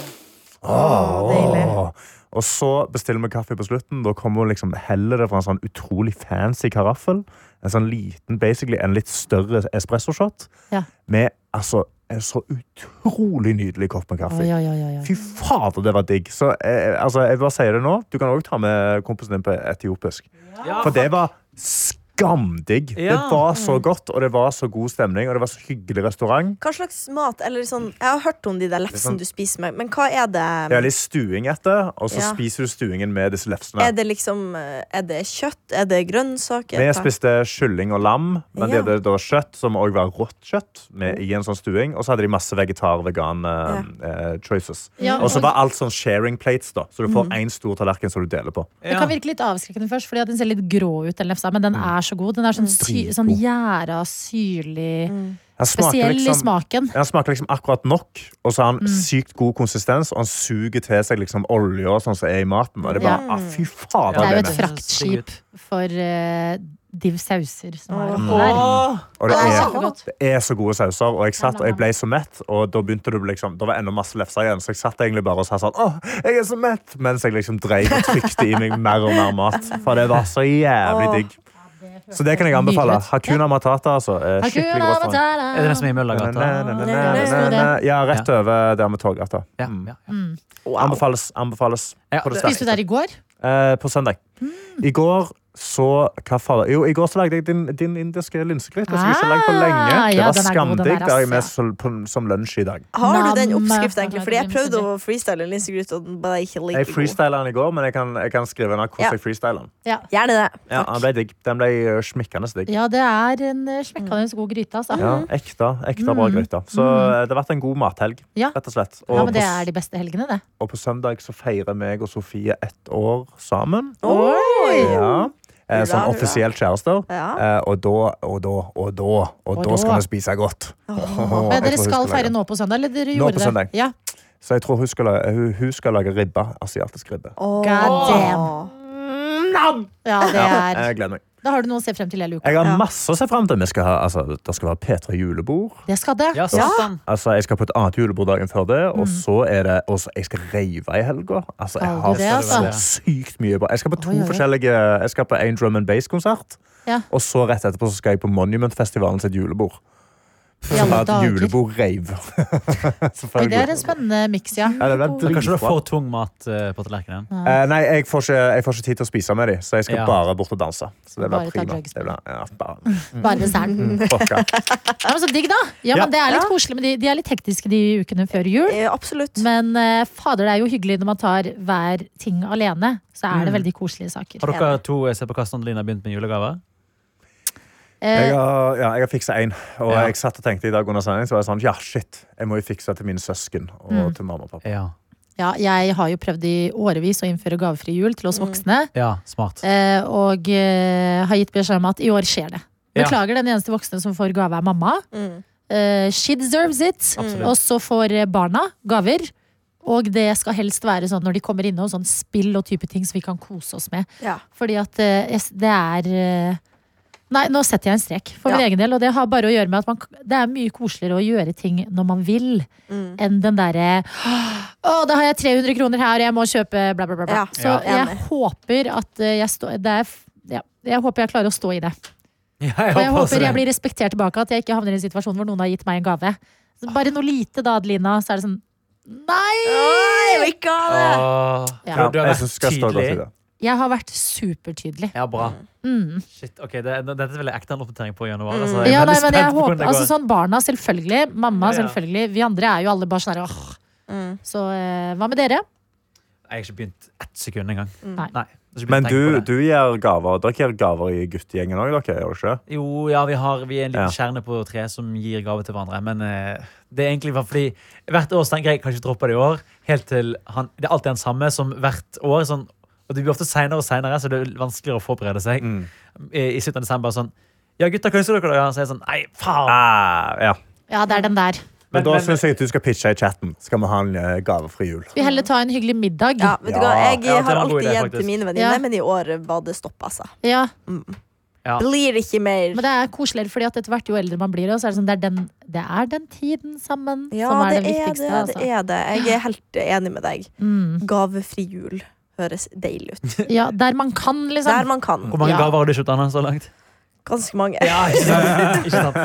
Speaker 4: Åh,
Speaker 3: deilig.
Speaker 4: åh. Og så bestiller vi kaffe på slutten. Da kommer hun liksom heller det fra en sånn utrolig fancy karaffel. En sånn liten, basically en litt større espressoshot.
Speaker 2: Ja.
Speaker 4: Med altså en så utrolig nydelig kopp med kaffe.
Speaker 2: Oi, oi, oi, oi, oi.
Speaker 4: Fy fader, det var digg. Så eh, altså, jeg bare sier det nå. Du kan òg ta med kompisen din på etiopisk.
Speaker 5: Ja,
Speaker 4: For det var skamdigg. Det
Speaker 5: Ja. Mm.
Speaker 4: var så godt, og det var så god stemning, og det var så hyggelig restaurant.
Speaker 3: Hva slags mat eller sånn, Jeg har hørt om de der
Speaker 4: sånn-
Speaker 3: lefsene du spiser med, men hva er det?
Speaker 4: Det
Speaker 5: Mm.
Speaker 4: er litt stuing etter, og så
Speaker 3: Ja.
Speaker 4: spiser du stuingen med disse lefsene.
Speaker 3: Er det liksom eh, Er det kjøtt? Er det grønnsaker?
Speaker 4: Vi
Speaker 3: Hva?
Speaker 4: spiste kylling og lam, men de
Speaker 3: Ja. Mm.
Speaker 4: hadde da kjøtt som også var rått kjøtt. Med, I en sånn stuing Og så hadde de masse vegetar-vegan-choices.
Speaker 2: Ja,
Speaker 4: eh, og så var alt sånn sharing plates, da så du får
Speaker 3: Mm.
Speaker 4: én stor tallerken som du deler på.
Speaker 2: Det kan virke litt avskrekkende først, fordi at den ser litt grå ut, den lefsa, men den er så god. Den er sånn, sy
Speaker 4: Mm. Dritgod.
Speaker 2: sånn gjæra, syrlig,
Speaker 4: Den smaker
Speaker 2: spesiell i
Speaker 4: liksom-
Speaker 2: smaken.
Speaker 4: Den smaker liksom akkurat nok, og så har
Speaker 2: Mm.
Speaker 4: den sykt god konsistens. Og han suger til seg liksom olje og sånn som er i maten. Og det er bare, ah, fy fader,
Speaker 2: Det er jo
Speaker 4: Lene.
Speaker 2: et fraktskip for uh, div sauser som er oppe der.
Speaker 5: Åh,
Speaker 4: Og det
Speaker 2: Det er
Speaker 4: er,
Speaker 2: kjempegodt.
Speaker 4: det er så gode sauser. Og jeg satt og jeg ble så mett, og da begynte det å bli liksom, det var enda masse lefser igjen. Så jeg satt egentlig bare og sa sånn Åh, jeg er så mett! Mens jeg liksom dreiv og trykte i meg mer og mer mat. For det var så jævlig digg. Så det kan jeg anbefale.
Speaker 2: Nydelig.
Speaker 4: Hakuna Matata, altså. Eh, Skikkelig
Speaker 2: Hakuna
Speaker 4: godt. restaurant.
Speaker 2: matata.
Speaker 5: er det den som er i
Speaker 4: Na,
Speaker 5: Møllergata?
Speaker 4: na, na, na, na, na. Ja, rett over der med toggata.
Speaker 5: Ja, ja, ja.
Speaker 2: Mm.
Speaker 3: Wow.
Speaker 4: Anbefales. Anbefales.
Speaker 5: Ja,
Speaker 4: På det
Speaker 5: det-
Speaker 2: Spiste du
Speaker 4: sterkeste.
Speaker 2: der i går?
Speaker 4: Eh, på søndag.
Speaker 2: Mm.
Speaker 4: I går så hva fader? Jo, i går så lagde jeg din, din indiske linsegryte. som jeg ikke har lagd på lenge.
Speaker 2: Ah,
Speaker 4: Det
Speaker 2: ja, den er
Speaker 4: var
Speaker 2: god, den der,
Speaker 4: skamdigg. Det har jeg med
Speaker 2: ass,
Speaker 4: som, på, som lunsj i dag.
Speaker 3: Har du den
Speaker 2: Nam-
Speaker 3: oppskriften, egentlig? Fordi jeg
Speaker 2: Nam-
Speaker 3: prøvde å freestyle en linsegryte, og den ble ikke
Speaker 4: Jeg
Speaker 3: like god.
Speaker 4: freestyla den i går, men jeg kan, jeg kan skrive ned hvordan
Speaker 3: Ja.
Speaker 4: jeg freestyla den.
Speaker 2: Ja.
Speaker 3: Gjerne det.
Speaker 4: Ja,
Speaker 3: Takk.
Speaker 4: den ble digg. Den ble eh, smikkende digg.
Speaker 2: Ja, det er en eh, smekkende god gryte, altså.
Speaker 4: Ja, ekte, ekte bra gryte. Så eh, det har vært en god mathelg,
Speaker 2: Mm. Ja.
Speaker 4: rett og slett. Og,
Speaker 2: Ja, men det
Speaker 4: på,
Speaker 2: er de beste helgene, det.
Speaker 4: s- og på søndag så feirer meg og Sofie ett år sammen.
Speaker 3: Oi!
Speaker 4: Ja. Eh, som
Speaker 3: Hurra, hurra.
Speaker 4: offisielt kjærester.
Speaker 3: Ja.
Speaker 4: Eh, og da, og da, og da, og,
Speaker 2: Og
Speaker 4: da
Speaker 2: da.
Speaker 4: skal vi spise godt.
Speaker 2: Men dere
Speaker 4: Jeg tror hun
Speaker 2: skal
Speaker 4: lage-
Speaker 2: feire nå på søndag, eller dere
Speaker 4: Nå
Speaker 2: gjorde
Speaker 4: på
Speaker 2: det?
Speaker 4: søndag.
Speaker 2: Ja.
Speaker 4: Så jeg tror hun skal, lage, hun, hun skal lage ribba. Asiatisk ribbe.
Speaker 2: God
Speaker 3: Åh.
Speaker 2: damn. Ja, det
Speaker 4: Ja,
Speaker 2: er
Speaker 4: jeg gleder meg.
Speaker 2: Da har du noe å se frem til hele uka.
Speaker 4: Jeg har
Speaker 3: Ja.
Speaker 4: masse å se fram til. Vi skal ha, altså, det skal være P3 julebord.
Speaker 2: Det skal det.
Speaker 5: Ja, satan.
Speaker 4: Altså, jeg skal på et annet julebord dagen før det,
Speaker 2: Mm.
Speaker 4: og så er det og så- jeg skal reive i helga. Altså, jeg
Speaker 2: Skal du
Speaker 4: har
Speaker 2: det,
Speaker 4: så
Speaker 2: altså?
Speaker 4: sykt mye bra. Jeg skal på to
Speaker 2: Oi, oi, oi.
Speaker 4: forskjellige Jeg skal på en drum and bass-konsert,
Speaker 2: Ja.
Speaker 4: og så rett etterpå så skal jeg på Monumentfestivalen sitt julebord.
Speaker 2: I
Speaker 4: Som er
Speaker 2: alle
Speaker 4: et
Speaker 2: dager.
Speaker 4: julebord-reiv.
Speaker 2: Oi, Det er en spennende miks, ja.
Speaker 4: Ja, det ble
Speaker 5: Men Kanskje du
Speaker 4: dritbra.
Speaker 5: får tung mat eh, på tallerkenen?
Speaker 4: Eh, nei, jeg får, ikke, jeg får ikke tid til å spise med dem, så jeg skal
Speaker 5: Ja.
Speaker 4: bare bort og danse. Så det blir
Speaker 2: Bare ta
Speaker 4: prima.
Speaker 2: drugs.
Speaker 4: Det blir, ja, bare,
Speaker 2: Bare desserten.
Speaker 4: mm, vodka.
Speaker 2: Ja, men så digg, da. Ja,
Speaker 4: Ja.
Speaker 2: men det er litt koselig, men de, de er litt hektiske de ukene før jul.
Speaker 3: Eh, Absolutt.
Speaker 2: Men eh, fader, det er jo hyggelig når man tar hver ting alene. Så er det veldig koselige saker.
Speaker 5: Har dere to eh, sett på hva Sandrine har begynt med julegaver?
Speaker 4: Jeg
Speaker 2: Eh,
Speaker 4: har, ja, jeg har fiksa én. Og
Speaker 5: Ja.
Speaker 4: jeg satt og tenkte i dag under sending, så var jeg sånn Ja, shit. Jeg må jo fikse til mine søsken og
Speaker 2: Mm.
Speaker 4: til mamma og pappa.
Speaker 5: Ja.
Speaker 2: ja, jeg har jo prøvd i årevis å innføre gavefri jul til oss voksne.
Speaker 5: ja, smart.
Speaker 2: Eh, og eh, har gitt beskjed om at i år skjer det.
Speaker 5: Ja.
Speaker 2: Beklager, den eneste voksne som får gave, er mamma.
Speaker 3: Mm.
Speaker 2: Eh, she deserves it.
Speaker 5: Absolutt.
Speaker 2: Og så får eh, barna gaver. Og det skal helst være sånn når de kommer innom, sånn spill og type ting som vi kan kose oss med.
Speaker 3: Ja.
Speaker 2: Fordi at eh, jeg s- det er eh, Nei, nå setter jeg en strek for min
Speaker 3: Ja.
Speaker 2: egen del. Og det har bare å gjøre med at man, k- det er mye koseligere å gjøre ting når man vil,
Speaker 3: Mm.
Speaker 2: enn den derre Å, da har jeg 300 kroner her, og jeg må kjøpe bla, bla, bla. bla.
Speaker 3: Ja,
Speaker 2: Så
Speaker 3: ja,
Speaker 2: jeg
Speaker 3: enig.
Speaker 2: håper at eh, jeg står det er, f- ja, jeg håper jeg klarer å stå i det.
Speaker 5: Ja,
Speaker 2: Og jeg
Speaker 5: også
Speaker 2: håper jeg
Speaker 5: det.
Speaker 2: blir respektert tilbake, at jeg ikke havner i en situasjon hvor noen har gitt meg en gave. Så bare noe lite, da, Adelina, så er det sånn Nei!
Speaker 3: Nei, jeg vil ikke ha det!
Speaker 5: Åh,
Speaker 2: Ja.
Speaker 5: Burde du ha
Speaker 4: jeg
Speaker 5: vært
Speaker 4: synes jeg skal stå godt i
Speaker 5: tydelig?
Speaker 4: det.
Speaker 2: Jeg har vært supertydelig.
Speaker 5: Ja, bra.
Speaker 2: Mm.
Speaker 5: Shit, ok, det, Dette vil jeg ekte en oppdatering på i januar.
Speaker 4: Mm.
Speaker 5: Altså, jeg er
Speaker 2: Ja,
Speaker 5: veldig
Speaker 2: nei, men jeg
Speaker 5: spent på hvordan
Speaker 2: håper,
Speaker 5: det
Speaker 2: altså
Speaker 5: går.
Speaker 2: sånn Barna, selvfølgelig. Mamma,
Speaker 5: Ja, ja.
Speaker 2: selvfølgelig. Vi andre er jo alle bare sånn her, åh.
Speaker 3: Mm.
Speaker 2: Så eh, hva med dere?
Speaker 5: Jeg har ikke begynt ett sekund engang.
Speaker 2: Mm. Nei.
Speaker 5: Nei, jeg har ikke begynt
Speaker 4: Men
Speaker 5: å tenke
Speaker 4: du,
Speaker 5: på det.
Speaker 4: du gir gaver. Dere gir gaver i guttegjengen òg, dere? Gjør dere ikke? det?
Speaker 5: Jo, ja, vi, har, vi er en liten
Speaker 4: Ja.
Speaker 5: kjerne på tre som gir gave til hverandre. Men eh, det er egentlig bare fordi hvert år så tenker jeg kanskje droppe det i år. Helt til han, Det er alltid den samme som hvert år. Sånn, og det blir ofte seinere og seinere, så det er vanskeligere å forberede seg.
Speaker 4: Mm.
Speaker 5: I, I slutten av desember sånn Ja, gutter, hva ønsker dere? da? Så er jeg sånn Nei, faen!
Speaker 4: Ah, ja.
Speaker 2: Ja, det er den der.
Speaker 4: Men,
Speaker 5: Men-
Speaker 4: da
Speaker 5: men-
Speaker 4: syns jeg at du skal pitche i chatten. Skal vi ha en eh, gavefri jul?
Speaker 2: Vi heller ta en hyggelig middag.
Speaker 3: Ja, vet du hva?
Speaker 4: Ja,
Speaker 3: Jeg
Speaker 5: ja, det var
Speaker 3: har
Speaker 5: en god
Speaker 3: alltid
Speaker 5: idé,
Speaker 3: gitt
Speaker 5: faktisk.
Speaker 3: til mine venninner,
Speaker 2: Ja.
Speaker 3: men i år var det stopp, altså.
Speaker 2: Ja,
Speaker 3: Blir ikke mer.
Speaker 2: Men det er koseligere, fordi at etter hvert jo eldre man blir, så er det, sånn, det, er den, det er den tiden sammen
Speaker 3: Ja,
Speaker 2: som er det,
Speaker 3: det er det.
Speaker 2: viktigste.
Speaker 3: det er det. Jeg er helt enig med deg.
Speaker 2: altså. Mm.
Speaker 3: Gavefri jul. høres deilig ut.
Speaker 2: Ja, der man kan,
Speaker 3: Der
Speaker 2: liksom.
Speaker 3: man kan.
Speaker 5: Hvor mange
Speaker 2: Ja.
Speaker 5: gaver har du kjøpt Anna, så langt?
Speaker 3: Ganske mange.
Speaker 5: ikke sant? ikke sant?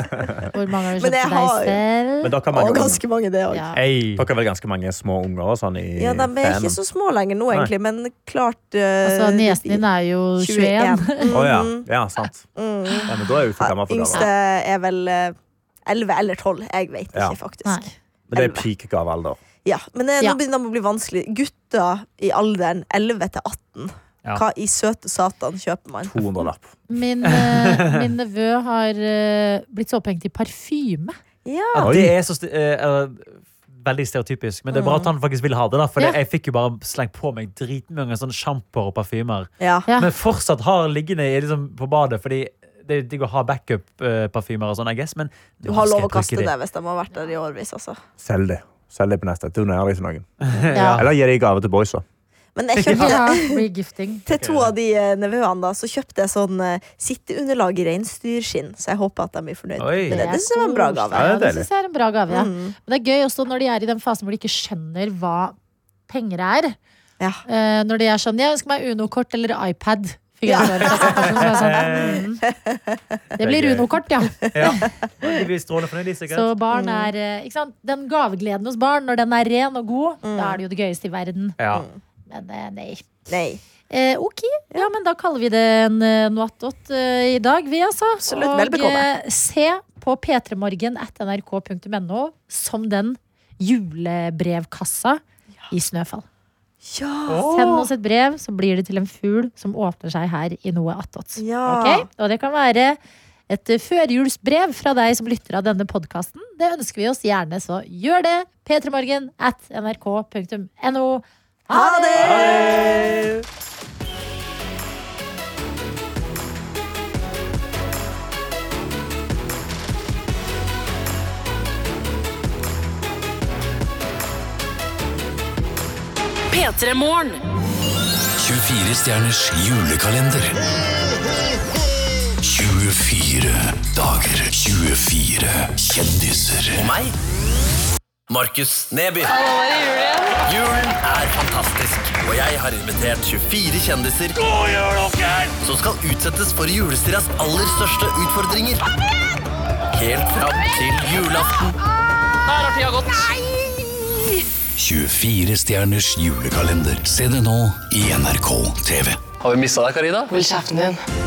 Speaker 2: Hvor mange har du
Speaker 3: Men
Speaker 2: kjøpt
Speaker 3: jeg
Speaker 2: til deg
Speaker 3: har-
Speaker 2: selv?
Speaker 4: Men dere har,
Speaker 3: Og
Speaker 4: mange,
Speaker 3: ganske mange, det òg.
Speaker 2: Ja.
Speaker 5: Ei.
Speaker 4: dere har vel ganske mange små unger og sånn i
Speaker 3: Ja, de er ikke
Speaker 4: fanen?
Speaker 3: så små lenger nå,
Speaker 4: Nei.
Speaker 3: egentlig, men klart eh,
Speaker 2: Altså, niesen din er jo 21.
Speaker 4: Å ja. ja, sant.
Speaker 3: Mm.
Speaker 4: Ja, men da er jeg jo for gammel for
Speaker 3: Yngste
Speaker 4: gaver.
Speaker 3: er vel eh, 11 eller 12. Jeg vet ikke,
Speaker 4: Ja.
Speaker 3: faktisk.
Speaker 2: Nei.
Speaker 4: Men det er peak gavealder.
Speaker 3: Ja, men det,
Speaker 2: Ja.
Speaker 3: nå begynner det å bli vanskelig. Gutter i alderen 11 til 18,
Speaker 5: Ja.
Speaker 3: hva i søte satan kjøper man?
Speaker 4: 200-lapp.
Speaker 2: Min, eh, min nevø har eh, blitt så opphengt i parfyme.
Speaker 3: Ja.
Speaker 5: Ja,
Speaker 4: Oi.
Speaker 5: det er så sti- eh, eh, veldig stereotypisk, men det er bra at han faktisk vil ha det. da For
Speaker 2: Ja.
Speaker 5: jeg fikk jo bare slengt på meg dritmange sånne sjampoer sånn og parfymer.
Speaker 3: ja.
Speaker 2: Ja.
Speaker 5: Men fortsatt har liggende i, liksom, på badet, fordi det er digg å ha backup-parfymer og sånn, I guess. Men
Speaker 3: Du har lov å kaste
Speaker 5: det
Speaker 3: det hvis de har vært der i årevis. Altså.
Speaker 4: Selg det. Selg det på neste. Doner det til liksom noen.
Speaker 2: Ja.
Speaker 4: Eller gi det i gave til boysa.
Speaker 3: Men jeg kjøpte
Speaker 2: Ja, regifting.
Speaker 3: til to av de eh, nevøene da, så kjøpte jeg sånn eh, sitteunderlag i reinsdyrskinn, så jeg håper at de blir fornøyd
Speaker 5: Oi.
Speaker 3: med det. Det synes jeg var en bra gave.
Speaker 2: Ja,
Speaker 4: Ja, det er
Speaker 2: det
Speaker 4: deilig.
Speaker 2: synes jeg er en bra gave. Ja.
Speaker 3: Mm.
Speaker 2: Men det er gøy også når de er i den fasen hvor de ikke skjønner hva penger er.
Speaker 3: Ja.
Speaker 2: Eh, når de er sånn Jeg ønsker meg Uno-kort eller iPad. Fikk jeg
Speaker 3: Ja.
Speaker 2: høre fra sånn person, så jeg sånn, mm. Det blir Uno-kort, ja.
Speaker 5: Ja. De blir strålende fornøyd, de, sikkert.
Speaker 2: Så barn
Speaker 3: Mm.
Speaker 2: er eh, ikke sant? Den gavegleden hos barn, når den er ren og god,
Speaker 3: Mm.
Speaker 2: da er det jo det gøyeste i verden.
Speaker 5: Ja.
Speaker 2: Men eh, nei.
Speaker 3: Nei.
Speaker 2: Eh, ok, ja, men da kaller vi det en eh, noatot eh, i dag, vi altså.
Speaker 3: Absolutt,
Speaker 2: Og,
Speaker 3: vel bekomme.
Speaker 2: eh, se på p3morgen at nrk.no som den julebrevkassa i Snøfall.
Speaker 3: Ja.
Speaker 2: Send oss et brev, så blir det til en fugl som åpner seg her i noe attåt.
Speaker 3: Ja.
Speaker 2: Ok? Og det kan være et eh, førjulsbrev fra deg som lytter av denne podkasten. Det ønsker vi oss gjerne, så gjør det. P3morgen at nrk.no.
Speaker 3: Ha det!
Speaker 7: P3 Morgen.
Speaker 1: 24 stjerners julekalender. 24 dager. 24 kjendiser. Og meg. Markus Neby. Hallo, er det jul igjen? Julen er fantastisk, og jeg har invitert 24 kjendiser som skal utsettes for julestiras aller største utfordringer. Helt fram til julaften. Nei! 24 stjerners julekalender. Se det nå i NRK TV.
Speaker 8: Hold kjeften din.